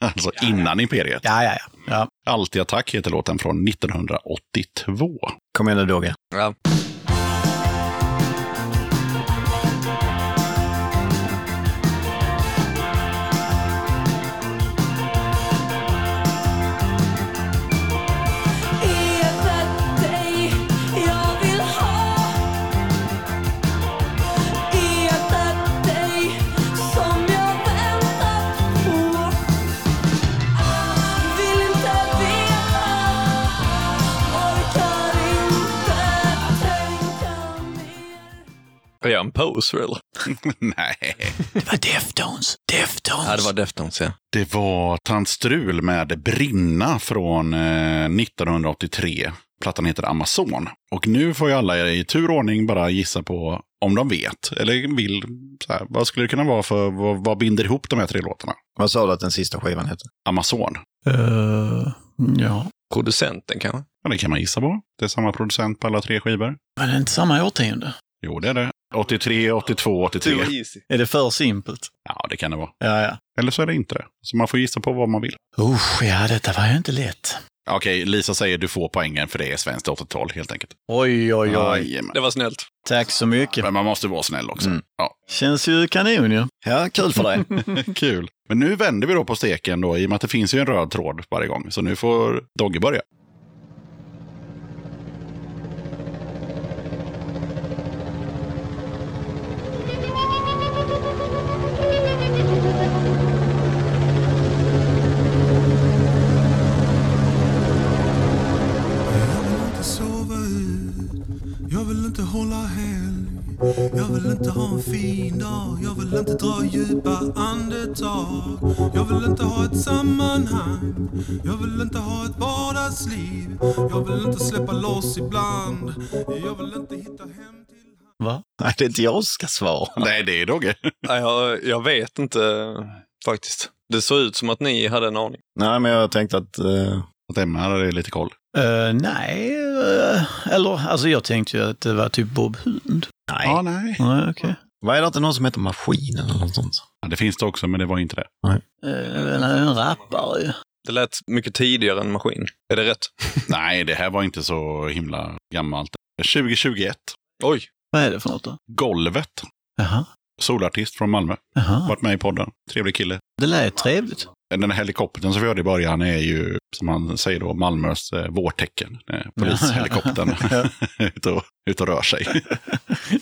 S2: Alltså innan Imperiet.
S8: ja, ja, ja. ja.
S2: Allt i attack heter låten från 1982.
S6: Kom igen nu Dogge.
S7: Ja. Är jag en poser eller?
S2: *laughs* Nej.
S8: Det var Deftones. Deftones.
S7: Ja, det var Deftones, ja.
S2: Det var Tant Strul med Brinna från eh, 1983. Plattan heter Amazon. Och nu får ju alla i tur och ordning bara gissa på om de vet eller vill. Så här, vad skulle det kunna vara för, vad, vad binder ihop de här tre låtarna?
S6: Vad sa du att den sista skivan hette?
S2: Amazon.
S8: Eh, ja.
S7: Producenten kanske?
S2: Ja, det kan man gissa på. Det är samma producent på alla tre skivor.
S8: Var det inte samma årtionde?
S2: Jo, det är det. 83, 82, 83.
S7: easy.
S8: Är det för simpelt?
S2: Ja, det kan det vara.
S8: Ja, ja.
S2: Eller så är det inte det. Så man får gissa på vad man vill.
S8: Usch, ja, detta var ju inte lätt.
S2: Okej, Lisa säger du får poängen för det är svenskt 80-tal helt enkelt.
S8: Oj, oj, oj.
S2: Jajamän.
S7: Det var snällt.
S8: Tack så mycket.
S2: Men man måste vara snäll också.
S6: Mm.
S2: Ja.
S8: Känns ju kanon ju.
S6: Ja, kul
S8: *laughs*
S6: för dig.
S2: *laughs* Kul. Men nu vänder vi då på steken då, i och med att det finns ju en röd tråd varje gång. Så nu får Dogge börja.
S9: inte sova ut. Jag vill inte hålla helg. Jag vill inte ha en fin dag. Jag vill inte dra djupa andetag. Jag vill inte ha ett sammanhang. Jag vill inte ha ett vardagsliv. Jag vill inte släppa loss ibland. Jag vill inte hitta hem till...
S8: Va?
S6: Nej, det är inte jag som ska svara.
S2: Nej, det är Dogge.
S7: Ja, jag, jag vet inte faktiskt. Det såg ut som att ni hade en aning.
S6: *laughs* Nej, men jag tänkte att... eh,
S2: Att Emma hade lite koll.
S8: Eh, nej, eh, eller alltså jag tänkte ju att det var typ Bob Hund.
S6: nej. Mm.
S2: Ja, nej.
S8: Nej, okej.
S6: Vad är det inte någon som heter Maskinen eller något sånt?
S2: Ja, det finns det också, men det var
S6: *laughs*
S2: inte det.
S8: Eh, en rappare ju.
S7: Det lät mycket tidigare än maskin. Är det rätt?
S2: Nej, det här var inte så himla gammalt. 2021.
S7: Oj!
S8: Vad är det för något då?
S2: Golvet.
S8: Jaha,
S2: Solartist från Malmö.
S6: Ah.
S8: jaha.
S2: Varit med i podden. Trevlig kille.
S8: Det lät trevligt.
S2: Den här helikoptern som vi hörde i början är ju, som han säger då, Malmös eh, vårtecken. Eh,
S6: *laughs*
S2: polishelikoptern. *laughs* ute, och, ute och rör sig.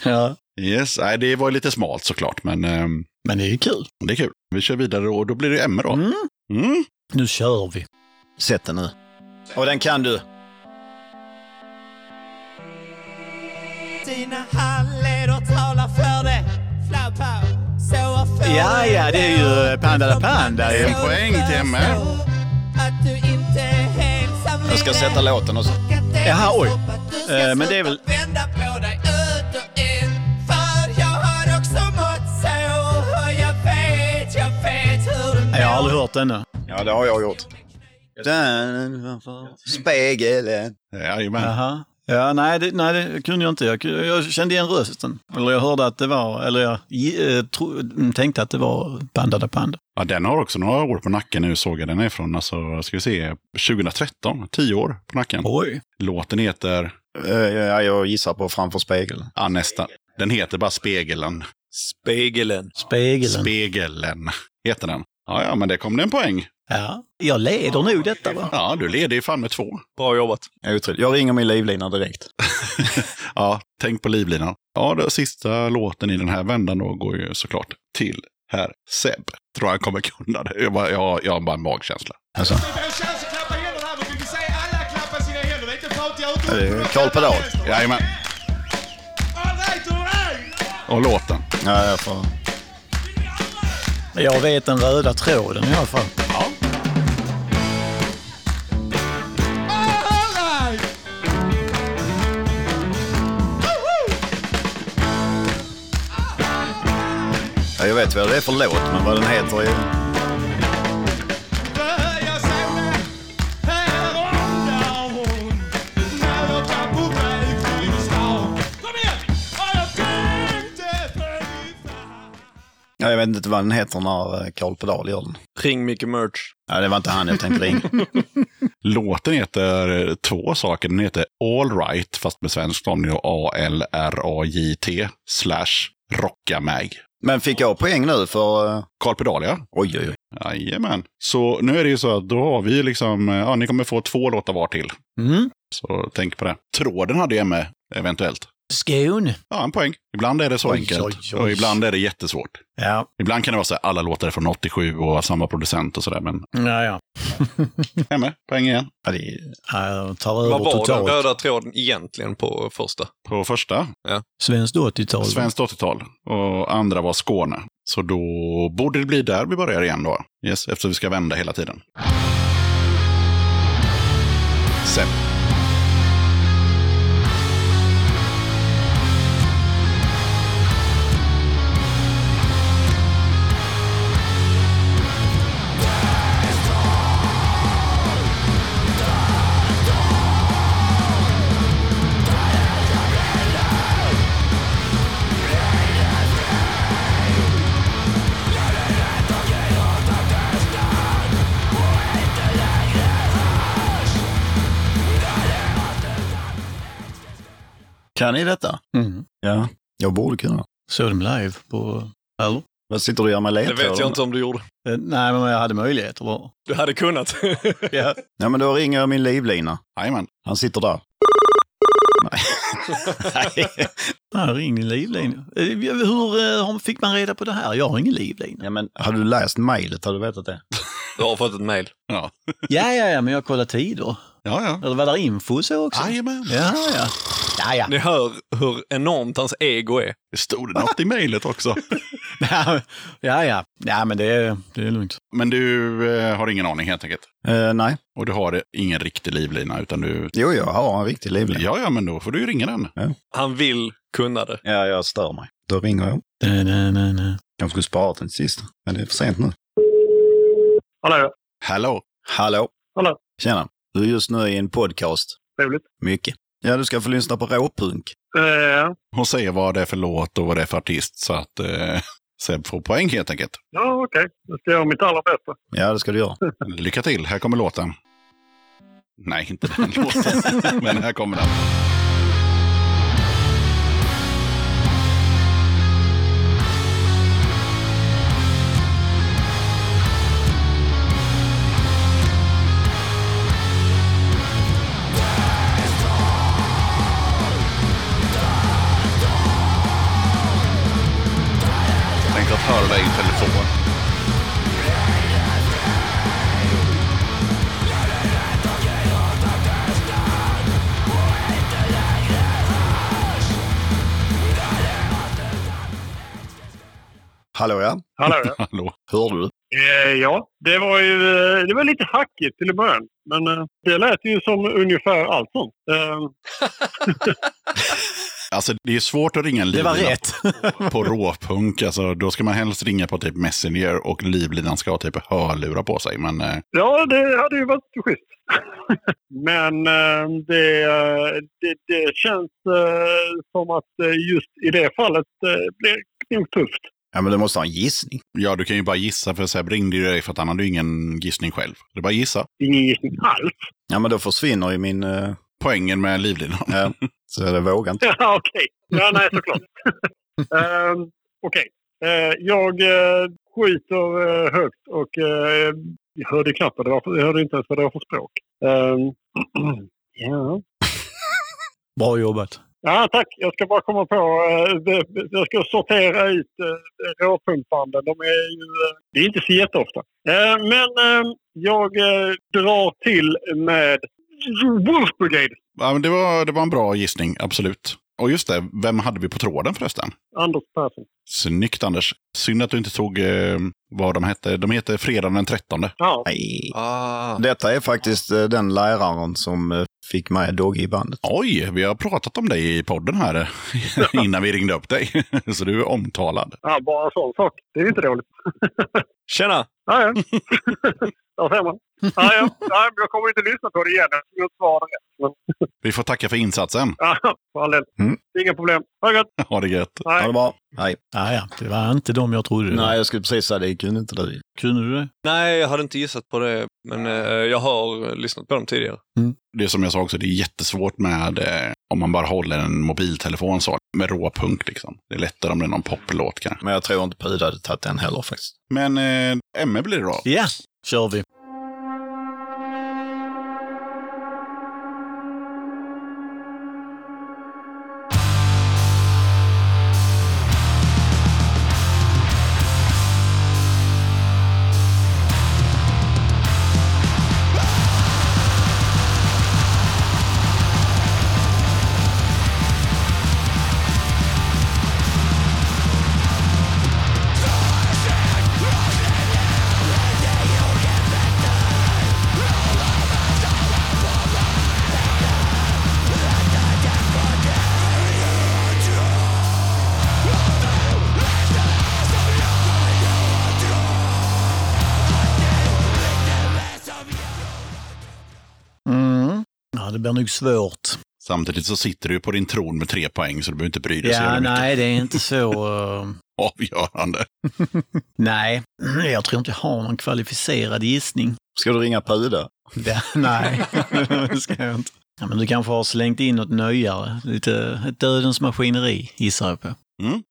S8: Ja.
S2: Yes, nej, det var ju lite smalt såklart, men ehm,
S8: Men det är ju kul.
S2: det är kul. Vi kör vidare och då blir det Emma då.
S8: Mm.
S2: Mm.
S8: Nu kör vi.
S6: Sätt den nu. Och den kan du.
S9: Dina handleder talar för det. Flabba, så är
S8: Ja, ja, det är ju Panda la Panda ju.
S2: En poäng till Emma.
S9: Att du inte är ensam
S6: Jag ska sätta låten också.
S8: Jaha, oj. Eh, men det är väl-
S9: Vända på dig ut och in. För jag har också mått så. Och jag vet, jag vet hur du mår.
S8: Jag har aldrig hört den ännu.
S6: Ja, det har jag gjort. Den, spegeln.
S2: Jajamän.
S8: Jaha. Ja, nej det, nej, det kunde jag inte. Jag, ku- jag kände igen rösten. Eller jag hörde att det var, eller jag eh, tro, tänkte att det var Panda da Panda.
S2: Ja, den har också några år på nacken nu såg jag. Den är från, alltså, ska vi se, 2013. Tio år på nacken.
S8: Oj!
S2: Låten heter,
S6: Eh, ja, jag gissar på Framför spegeln.
S2: ja nästan, den heter bara Spegelen.
S7: Spegelen.
S8: Spegelen.
S2: Spegelen heter den. Ja, ja, men det kom det en poäng.
S8: ja. Jag leder nog detta va?
S2: Ja, du leder ju fan med två.
S7: Bra jobbat.
S6: Otroligt. Jag ringer min livlina direkt.
S2: *laughs* Ja, tänk på livlinan. Ja, den sista låten i den här vändan då går ju såklart till herr Seb. Tror han kommer kunna det. Jag, bara, jag, jag har bara en magkänsla.
S6: Eh, Karl Pedal.
S2: Jajamän, och låten.
S6: Ja, jag får...
S8: Jag vet den röda tråden i alla fall.
S6: ja, jag vet vad det är för låt, men vad den heter är... Ja, jag vet inte vad den heter när eh, Karl Pedal gör den.
S7: Ring Micke Merch.
S6: Ja, det var inte han jag tänkte ringa. *laughs*
S2: Låten heter eh, två saker. Den heter All Right, fast med svensk namn. A-L-R-A-J-T slash Rocka mig.
S6: Men fick jag poäng nu för... eh,
S2: Carl Pedalia.
S6: Oj, oj, oj.
S2: Jajamän. Så nu är det ju så att då har vi ju liksom, eh, ja ni kommer få två låtar var till.
S8: Mm.
S2: Så tänk på det. Tråden hade jag med, eventuellt.
S8: Skåne.
S2: Ja, en poäng. Ibland är det så
S8: Oj,
S2: enkelt.
S8: oj, oj.
S2: Och ibland är det jättesvårt.
S8: Ja,
S2: Ibland kan det vara så här, alla låtar är från 87 och har samma producent och sådär. Men
S8: ja, ja.
S2: jag är med, poäng igen.
S6: Ja, det är...
S8: Ja, Jag tar över
S7: Vad var den
S8: totalt.
S7: röda tråden egentligen på första?
S2: På första,
S8: Svenskt 80-tal.
S2: svenskt 80-tal. Och andra var Skåne. Så då borde det bli där vi börjar igen då. Yes, eftersom vi ska vända hela tiden. Sen.
S6: Kan ni detta?
S8: Mm.
S6: Ja. Jag borde kunna.
S8: Såg dem live på... Eller?
S6: Vad sitter du och gör
S7: Det
S6: med ledtråden?
S7: vet jag inte om du gjorde.
S8: Eh, Nej, men jag hade möjligheter bara.
S7: Du hade *laughs* kunnat.
S8: Ja.
S6: Ja, men då ringer jag min livlina.
S2: Jajamän.
S6: Han sitter där. Nej.
S8: Nej, ring din livlina. Eh, Hur eh, fick man reda på det här? Jag har ingen livlina.
S6: ja, men har du läst mejlet? Har du vetat det?
S7: Du har fått ett mejl.
S2: Ja,
S8: Ja, ja, ja, men jag kollar tider.
S2: ja. ja.
S8: Eller var där info så också?
S2: Jajamän.
S8: Ja, ja. *laughs* Ja, ja.
S7: Ni hör hur enormt hans ego är.
S2: Det stod det något i mejlet också.
S8: Ja, ja. ja. ja men det är, det är lugnt.
S2: Men du eh, har ingen aning helt enkelt.
S6: Eh, nej.
S2: Och du har ingen riktig livlina utan du...
S6: Jo, jag har en riktig livlina.
S2: Ja, ja, men då får du ju ringa den.
S7: Han vill kunna det.
S6: Ja, jag stör mig. Då ringer jag.
S8: Da, da, da, da.
S6: Jag skulle spara den sist, men det är för sent nu.
S10: Hallå,
S2: Hallå!
S6: Hallå!
S10: Hallå.
S6: Tjena! Du är just nu i en podcast.
S10: trevligt.
S6: Mycket. Ja, du ska få lyssna på råpunk.
S10: Eh,
S2: Hon säger vad det är för låt och vad det är för artist så att eh, *laughs* Seb får poäng helt enkelt.
S10: ja, okej. Jag ska göra mitt allra bästa.
S6: Ja, det ska du göra.
S2: Lycka till, här kommer låten. Nej, inte den låten. *laughs* men här kommer den. Tänk att höra dig i telefon.
S6: Hallå ja,
S10: Hallå, ja.
S6: *laughs*
S2: Hallå.
S6: hör du?
S10: Eh, ja, det var ju eh, det var lite hackigt till i början. Men eh, det lät ju som ungefär allt sånt. Eh,
S2: Alltså det är svårt att ringa en
S8: Det var
S2: livlina
S8: rätt.
S2: på, på råpunk. Alltså, då ska man helst ringa på typ Messenger och livlinan ska ha typ hörlurar på sig. Men eh,
S10: Ja, det hade ju varit schysst. Men eh, det, eh, det, det känns eh, som att eh, just i det fallet eh, blir det nog tufft.
S6: Ja, men du måste ha en gissning.
S2: ja, du kan ju bara gissa för Seb ringde ju dig för att han hade ju ingen gissning själv. Det är bara att gissa.
S10: Ingen gissning alls.
S6: Ja, men då försvinner ju min... eh,
S2: Poängen med livlinan. *laughs*
S6: ja, så jag vågar inte.
S10: *laughs* Ja, okej. Ja, nej,
S8: *laughs*
S10: såklart. um, okej. Eh, jag uh, skjuter eh, högt och eh, jag hörde knappt vad det var för, jag hörde inte ens vad det var för språk. Ehm, *clears throat* ja.
S8: *laughs* Bra jobbat.
S10: ja, tack. Jag ska bara komma på. eh, det- det- jag ska sortera ut uh, råpumpbanden. De är ju, eh, det är inte så jätteofta. Eh, men ehm, jag eh, drar till med Wolf Brigade.
S2: Ja, men det, var, det var en bra gissning, absolut. Och just det, vem hade vi på tråden förresten?
S10: Anders Persson.
S2: Snyggt Anders. Synd att du inte tog eh, vad de hette. De heter Fredagen den 13.
S10: Ja,
S6: Nej.
S7: Ah,
S6: Detta är faktiskt eh, den läraren som eh, fick med Dogge i bandet.
S2: Oj, vi har pratat om dig i podden
S10: *laughs*
S2: här innan vi ringde upp dig. *laughs* Så du är omtalad.
S10: ja, bara en sån sak. Det är ju inte dåligt.
S7: tjena!
S10: Ja, *laughs* ja. Där ser man. Ja, ja. Ja, men jag kommer inte lyssna på det igen eftersom jag svarade rätt. Men,
S2: Vi får tacka för insatsen. *laughs*
S10: ja, för all del.
S6: Mm.
S10: Inga problem. Ha det gött.
S2: Ha det gött.
S6: Ha
S10: Nej.
S6: det bra. Hej.
S8: Ah, ja, det var inte de jag trodde. det var.
S6: Nej, jag skulle precis säga det. Kunde inte du?
S8: Kunde du det?
S7: Nej, jag hade inte gissat på det, men eh, jag har lyssnat på dem tidigare.
S2: Det som jag sa också, det är jättesvårt med eh, om man bara håller en mobiltelefon så. Med råpunk liksom. Det är lättare om det är någon poplåt kanske.
S6: Men jag tror inte Puda hade tagit den heller faktiskt.
S2: Men eh, ME blir det då.
S8: Ja, kör vi. Mm. Ja, det blir nog svårt.
S2: Samtidigt så sitter du på din tron med tre poäng så du behöver inte bry dig så
S8: Ja,
S2: jävla mycket.
S8: nej, det är inte så... eh,
S2: Avgörande.
S8: nej, *clears throat* jag tror inte jag har någon kvalificerad gissning.
S6: Ska du
S8: *laughs*
S6: ringa Puda?
S8: Det, nej, *laughs* det ska jag inte. Ja, men du kanske har slängt in något nöjare. Lite ett dödens maskineri, gissar jag på.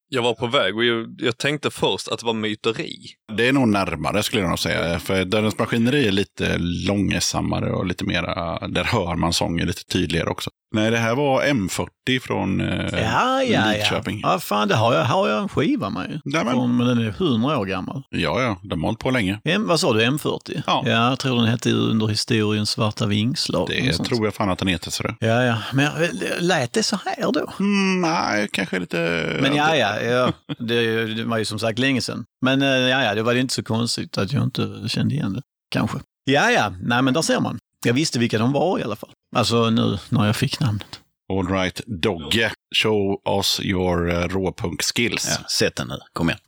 S7: Jag var på väg och jag, jag tänkte först att det var myteri.
S2: Det är nog närmare skulle jag nog säga. För Dödens Maskineri är lite långsammare och lite mera, där hör man sången lite tydligare också. Nej, det här var M40 från eh,
S8: Ja, ja, ja.
S2: Lidköping.
S8: Ja, fan, det har jag, har jag en skiva med ju.
S2: Nej, men,
S8: Från- Men den är 100 år gammal.
S2: ja, ja, de har hållit på länge.
S8: M, vad sa du, M40?
S2: Ja.
S8: jag tror den hette Under historiens svarta vingslag.
S2: Det
S8: eller något sånt.
S2: tror jag fan att den heter. Så det.
S8: Ja, ja. Men jag, lät det så här då?
S2: Mm, nej, kanske lite...
S8: Men ja, ja, ja. Det, det var ju som sagt länge sedan. Men eh, ja, ja, det var ju inte så konstigt att jag inte kände igen det, kanske. Ja, ja, nej men där ser man. Jag visste vilka de var i alla fall. Alltså nu när jag fick namnet.
S2: All right, Dogge. Show us your uh, råpunk-skills.
S6: Ja, sätt den nu. Kom igen.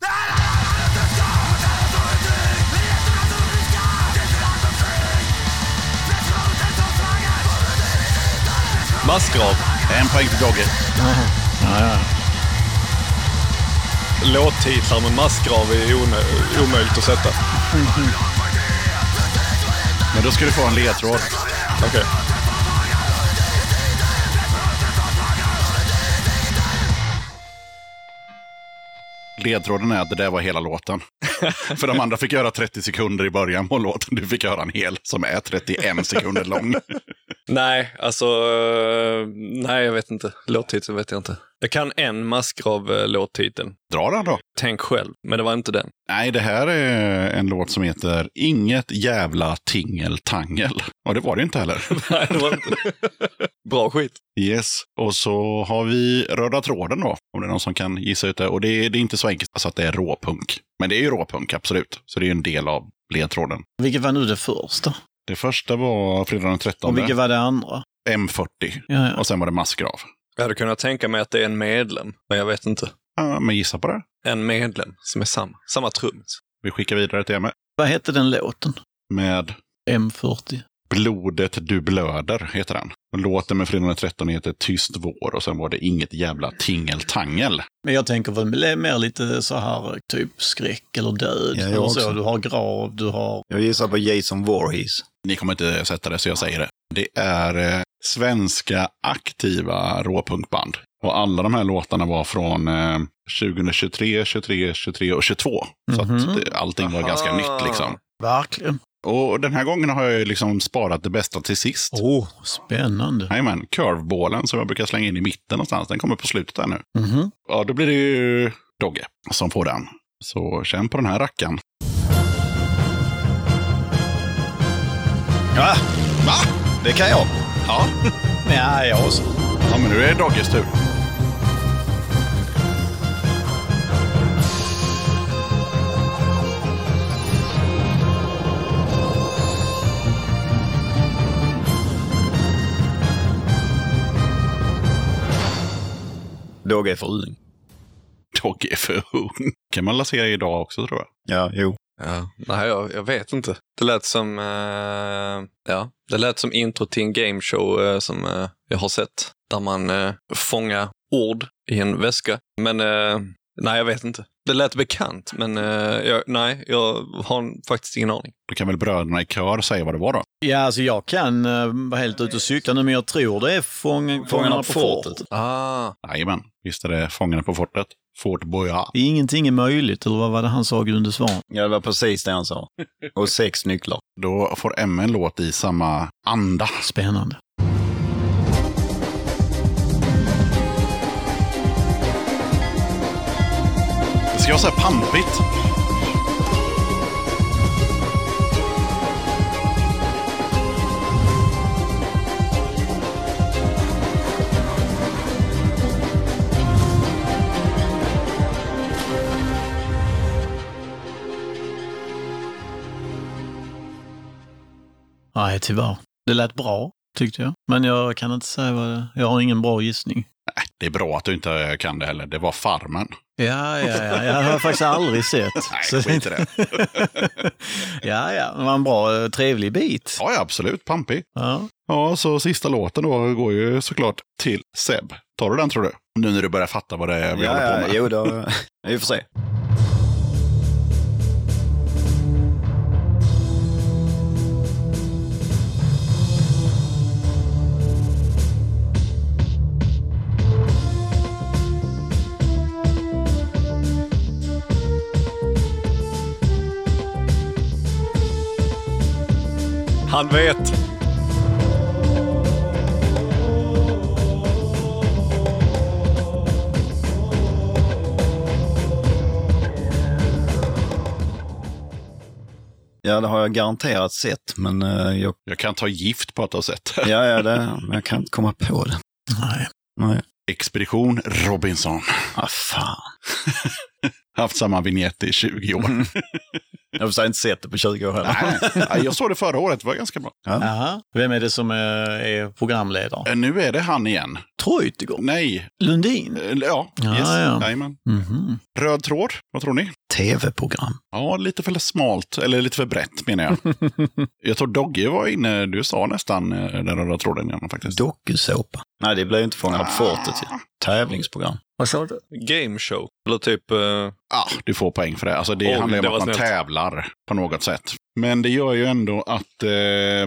S7: Massgrav.
S2: En poäng till Dogge.
S7: Låttitlar med massgrav är onö- omöjligt att sätta.
S2: Men då ska du få en ledtråd.
S7: Okej.
S2: Ledtråden är att det där var hela låten. För de andra fick göra 30 sekunder i början på låten. Du fick göra en hel som är 31 sekunder lång.
S7: Nej, alltså... eh, nej, jag vet inte. Låttiteln vet jag inte. Jag kan en massgrav-låttiteln.
S2: Dra den då.
S7: Tänk själv, men det var inte den. *laughs*
S2: Nej, det här är en låt som heter Inget jävla tingeltangel. Och det var det inte heller.
S7: Nej, det var inte. Bra skit.
S2: Yes, och så har vi Röda tråden då, om det är någon som kan gissa ut det. Och det är, det är inte så enkelt så att det är råpunk. Men det är ju råpunk, absolut. Så det är ju en del av ledtråden.
S8: Vilket var nu det första?
S2: Det första var fredagen den 13.
S8: Och vilket var det andra?
S2: M40.
S8: Ja, ja.
S2: Och sen var det massgrav.
S7: Jag hade kunnat tänka mig att det är en medlem, men jag vet inte.
S2: Ja, men gissa på det.
S7: En medlem som är samma. Samma trummis.
S2: Vi skickar vidare till Emma
S8: Vad hette den låten?
S2: med
S8: M40.
S2: Blodet du blöder, heter den. Och Låten med Fredag den 13 heter Tyst vår och sen var det inget jävla tingeltangel.
S8: Men jag tänker väl mer lite så här typ skräck eller död.
S6: Ja, jag
S8: eller
S6: också.
S8: så. Du har grav, du har...
S6: Jag gissar på Jason Voorhees.
S2: Ni kommer inte sätta det, så jag säger det. Det är eh, svenska aktiva råpunkband. Och alla de här låtarna var från eh, 2023, 23, 23 och 22. Så
S8: Mhm.
S2: att det, allting var ganska
S7: Aha.
S2: nytt liksom.
S8: Verkligen.
S2: Och den här gången har jag ju liksom sparat det bästa till sist.
S8: Åh, oh, spännande.
S2: Jajamän, curveballen som jag brukar slänga in i mitten någonstans, den kommer på slutet här nu.
S8: Mhm.
S2: Ja, då blir det ju Dogge som får den. Så känn på den här rackaren.
S6: Ja, va? Det kan jag.
S2: Ja,
S6: *laughs* Ja, jag också.
S2: ja men nu är det Dogges tur.
S6: Dogge är för uling.
S2: Dogge är för ung. kan man lansera idag också tror jag.
S6: Ja, jo.
S7: Ja. Nej, jag, jag vet inte. Det lät som... eh, ja, det lät som intro till en gameshow eh, som eh, jag har sett. Där man eh, fångar ord i en väska. Men eh, nej, jag vet inte. Det lät bekant, men eh, jag, nej, jag har faktiskt ingen aning.
S2: Då kan väl bröderna i kör säga vad det var då?
S8: Ja, alltså jag kan eh, vara helt ute och cykla nu, men jag tror det är fång... Fångarna på fortet.
S7: Ah,
S2: Jajamän, visst är det Fångarna på fortet. Fort Boyard.
S8: Ingenting är möjligt, eller vad var det han sa, Grunde Svan?
S6: Ja, det var precis det han sa. Och sex nycklar.
S2: Då får M en låt i samma anda.
S8: Spännande.
S2: Det ska vara så här pampigt.
S8: Nej, tyvärr. Det lät bra, tyckte jag. Men jag kan inte säga vad det... Jag har ingen bra gissning.
S2: Det är bra att du inte kan det heller. Det var Farmen.
S8: Ja, ja, ja. *laughs* Jag har faktiskt aldrig sett.
S2: Nej,
S8: Så-
S2: skit i det.
S8: *laughs* ja, ja. Det var en bra, eh, trevlig bit.
S2: Ja, ja, absolut. Pampig.
S8: Ja.
S2: Ja, så sista låten då går ju såklart till Seb. Tar du den tror du? Nu när du börjar fatta vad det är vi håller på med.
S6: jo, då... Vi får se.
S7: han vet!
S6: Ja, det har jag garanterat sett, men eh, jag...
S2: Jag kan ta gift på att ha sett *laughs* det.
S6: Ja, ja, det... men jag kan inte komma på det.
S8: Nej.
S6: Nej.
S2: Expedition Robinson.
S6: Ah, fan.
S2: Haft samma vignett i 20 år.
S6: Jag har för sig inte sett det på 20 år heller.
S2: *laughs* Nej, nej, jag såg det förra året. Det var ganska bra.
S8: Aha. Vem är det som eh, är programledare?
S2: Eh, Nu är det han igen.
S8: Treutiger.
S2: Nej.
S8: Lundin.
S2: Eh, Ja.
S8: Ja,
S2: yes.
S8: ja.
S2: Jajamän.
S8: Mhm.
S2: Röd tråd, vad tror ni?
S6: Tv-program.
S2: Ja, lite för smalt, eller lite för brett menar jag. jag tror Dogge var inne, du sa nästan eh, den röda tråden igen faktiskt.
S6: Dokusåpa. Nej, det blir ju inte Fångarna på
S2: Ah.
S6: fortet. ju. Tävlingsprogram.
S8: Vad sa du?
S7: Gameshow. Eller typ... eh,
S2: Ja, du får poäng för det. Alltså det
S7: Oj,
S2: handlar ju
S7: det
S2: om att
S7: var
S2: man
S7: snällt.
S2: tävlar på något sätt. Men det gör ju ändå att eh,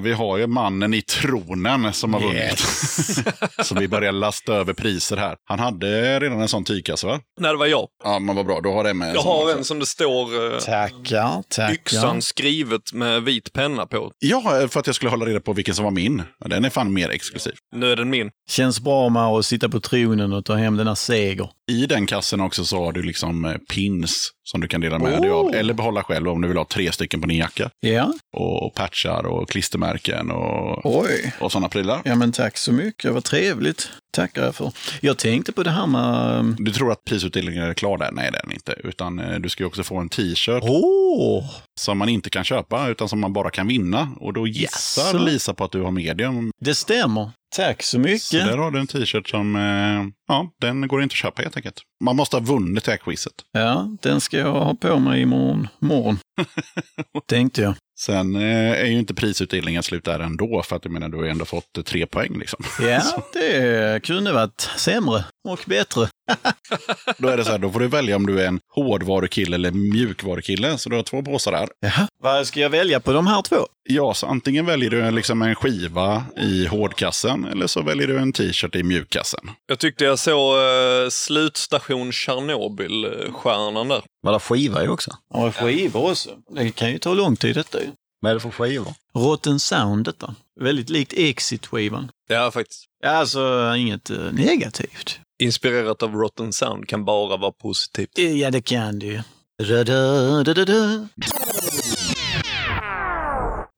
S2: vi har ju mannen i tronen som har vunnit. *laughs* Så vi börjar lasta över priser här. Han hade redan en sån tygkasse va?
S7: nej, det var jag.
S2: Ja, men vad bra. Då har det med.
S7: Jag har en som det står eh,
S8: Tackar, tackar.
S7: yxan skrivet med vit penna på.
S2: Ja, för att jag skulle hålla reda på vilken som var min. Ja, Den är fan mer exklusiv.
S7: Nu är den min.
S8: Känns bra med att sitta på tronen och ta hem denna seger.
S2: I den kassen också så har du liksom eh, pins som du kan dela med dig av. Eller behålla själv om du vill ha tre stycken på din jacka.
S8: Ja,
S2: Och patchar och klistermärken och,
S8: oj.
S2: och sådana prylar.
S8: Ja, men tack så mycket. Vad trevligt. tackar jag för. Jag tänkte på det här med... ehm,
S2: Du tror att prisutdelningen är klar där? Nej, det är den inte. Utan eh, du ska ju också få en t-shirt
S8: Åh!
S2: som man inte kan köpa, utan som man bara kan vinna. Och då gissar
S8: Jaså.
S2: Lisa på att du har medium.
S8: Det stämmer. Tack så
S2: Så
S8: mycket.
S2: där har du en t-shirt som, eh, ja, den går inte att köpa helt enkelt. Man måste ha vunnit det här quizet.
S8: Ja, den ska jag ha på mig imorgon
S6: *laughs*
S8: morgon. Tänkte jag.
S2: Sen eh, är ju inte prisutdelningen slut där ändå, för att jag menar, du har ju ändå fått eh, tre poäng liksom.
S8: Ja, det kunde varit sämre och bättre.
S2: Då är det så här, då får du välja om du är en hårdvarukille eller mjukvarukille. Så du har två påsar där.
S8: Jaha. Vad ska jag välja på de här två?
S2: Ja, så antingen väljer du en- liksom en skiva i hårdkassen eller så väljer du en t-shirt i mjukkassen.
S7: Jag tyckte jag såg eh, slutstation Tjernobyl-stjärnan där.
S11: Vad det skiva är också.
S8: Ja, skivor också. Det kan ju ta lång tid detta ju.
S11: Vad är det för skivor?
S8: Rotten Sound detta. Väldigt likt Exit-skivan.
S7: Ja, faktiskt.
S8: Alltså, inget eh, negativt.
S7: Inspirerat av Rotten Sound kan bara vara positivt.
S8: Eh, Ja, det kan det ju. Da-da-da-da-da.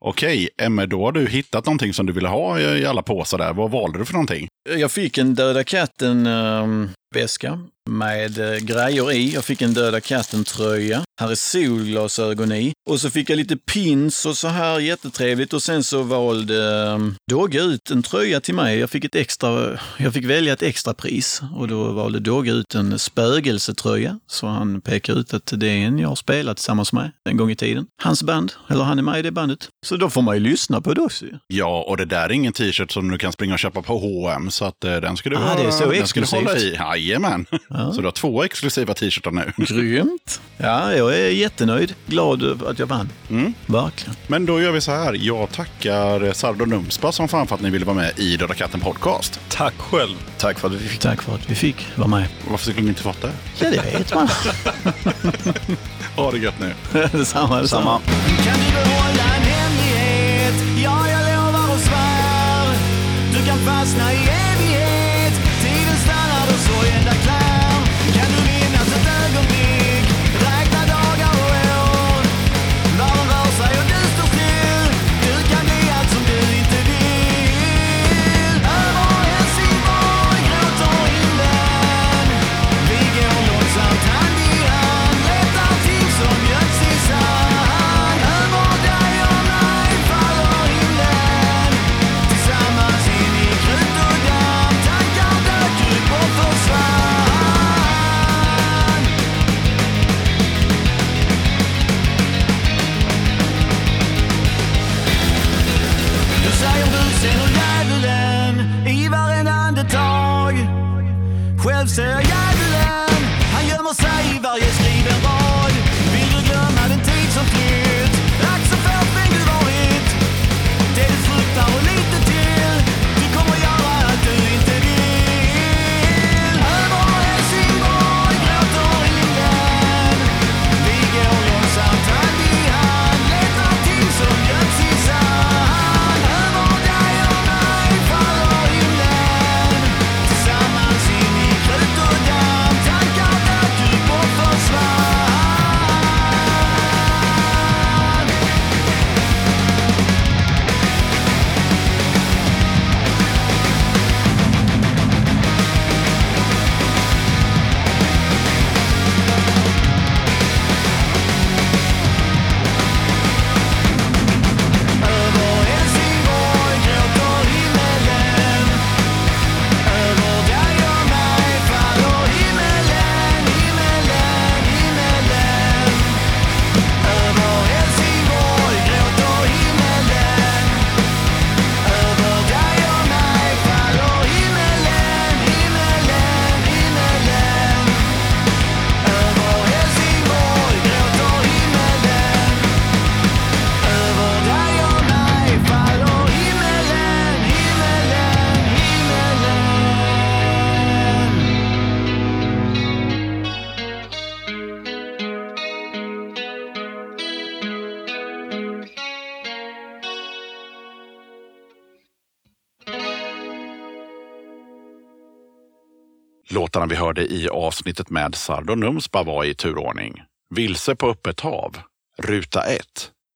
S2: Okej, Emme, då har du hittat någonting som du ville ha i i alla påsar där. Vad valde du för någonting?
S8: Jag fick en Döda katten-väska med eh, grejer i. Jag fick en Döda katten-tröja. Här är solglasögon i. Och så fick jag lite pins och så här jättetrevligt. Och sen så valde eh, Dogge ut en tröja till mig. Jag fick, ett extra, jag fick välja ett extra pris och då valde Dogge ut en spögelsetröja. Så han pekar ut att det är en jag har spelat tillsammans med en gång i tiden. Hans band, eller han är med i det bandet. Så då får man ju lyssna på det också ju.
S2: Ja, och det där är ingen t-shirt som du kan springa och köpa på H&M så att eh, den ska du,
S8: Ah, det är så
S2: den ska du
S8: exklusivt.
S2: hålla i. Jajamän!
S8: Ja.
S2: *laughs* Så du har två exklusiva t-shirtar nu.
S8: Grymt! Ja, jag är jättenöjd. Glad över att jag vann.
S2: Mm.
S8: Verkligen.
S2: Men då gör vi så här. Jag tackar Sardo Numspa som fan för att ni ville vara med i Döda katten podcast.
S7: Tack själv!
S11: Tack för att vi fick
S8: Tack för att vi fick vara med.
S2: Varför skulle ni inte fått det?
S8: Ja, det vet man.
S2: Ha det gött nu!
S8: *laughs* detsamma, detsamma.
S11: samma.
S5: Kan du behålla en hemlighet? Ja, jag lovar och svär Du kan fastna i evighet Tiden stannar och sorgen där klär Kan du minnas ett ögonblick? Räkna dagar och år Världen rör sig och du står still Du kan bli allt som du inte vill Över Helsingborg gråter himlen Vi går långsamt hand i hand Letar ting som göms i sand Över dig och mig faller himlen Tillsammans in er i krut och damm Tankar dök upp och försvann Du säger busen och djävulen i varenda andetag Själv ser jag djävulen, han gömmer sig i varje skriven rad Vill du glömma den tid som flytt, lax och fårfäng du varit Det du fruktar och lite till, du kommer göra allt du inte vill Över Helsingborg gråter himlen vi går långsamt hand i hand, letar ting som göms i sand. Över dig och mig faller himlen. Tillsammans in i krut och damm, tankar dök upp och försvann. Över Helsingborg gråter himmelen Över dig och mig faller himmelen, himmelen, himmelen Över Helsingborg gråter himmelen Över dig och mig faller himmelen, himmelen, himmelen Över Helsingborg gråter himmelen över dig och mig faller himmelen, himmelen, himmelen
S2: Låtarna vi hörde i avsnittet med Sardo Numspa var i turordning. Vilse på öppet hav, ruta 1.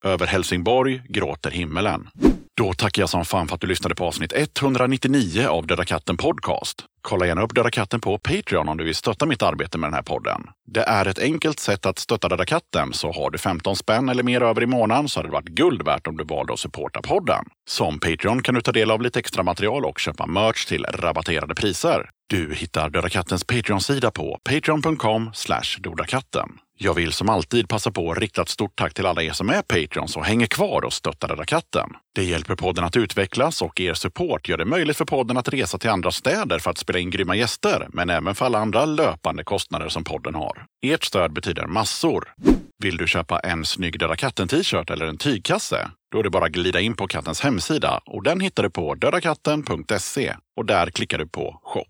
S2: Över Helsingborg gråter himmelen. Då tackar jag som fan för att du lyssnade på avsnitt 199 av Döda katten podcast. Kolla gärna upp Döda katten på Patreon om du vill stötta mitt arbete med den här podden. Det är ett enkelt sätt att stötta Döda katten, så har du 15 spänn eller mer över i månaden så hade det varit guld värt om du valde att supporta podden. Som Patreon kan du ta del av lite extra material och köpa merch till rabatterade priser. Du hittar Döda kattens Patreon-sida på patreon.com dodakatten. Jag vill som alltid passa på att rikta ett stort tack till alla er som är Patreons och hänger kvar och stöttar Döda katten. Det hjälper podden att utvecklas och er support gör det möjligt för podden att resa till andra städer för att spela in grymma gäster, men även för alla andra löpande kostnader som podden har. Ert stöd betyder massor. Vill du köpa en snygg Döda katten-t-shirt eller en tygkasse? Då är det bara att glida in på kattens hemsida och den hittar du på dödakatten.se och där klickar du på shop.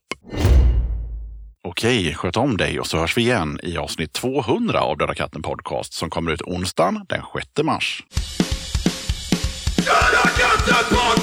S2: Okej, sköt om dig och så hörs vi igen i avsnitt 200 av Döda katten podcast som kommer ut onsdagen den 6 mars.
S5: Döda katten podcast!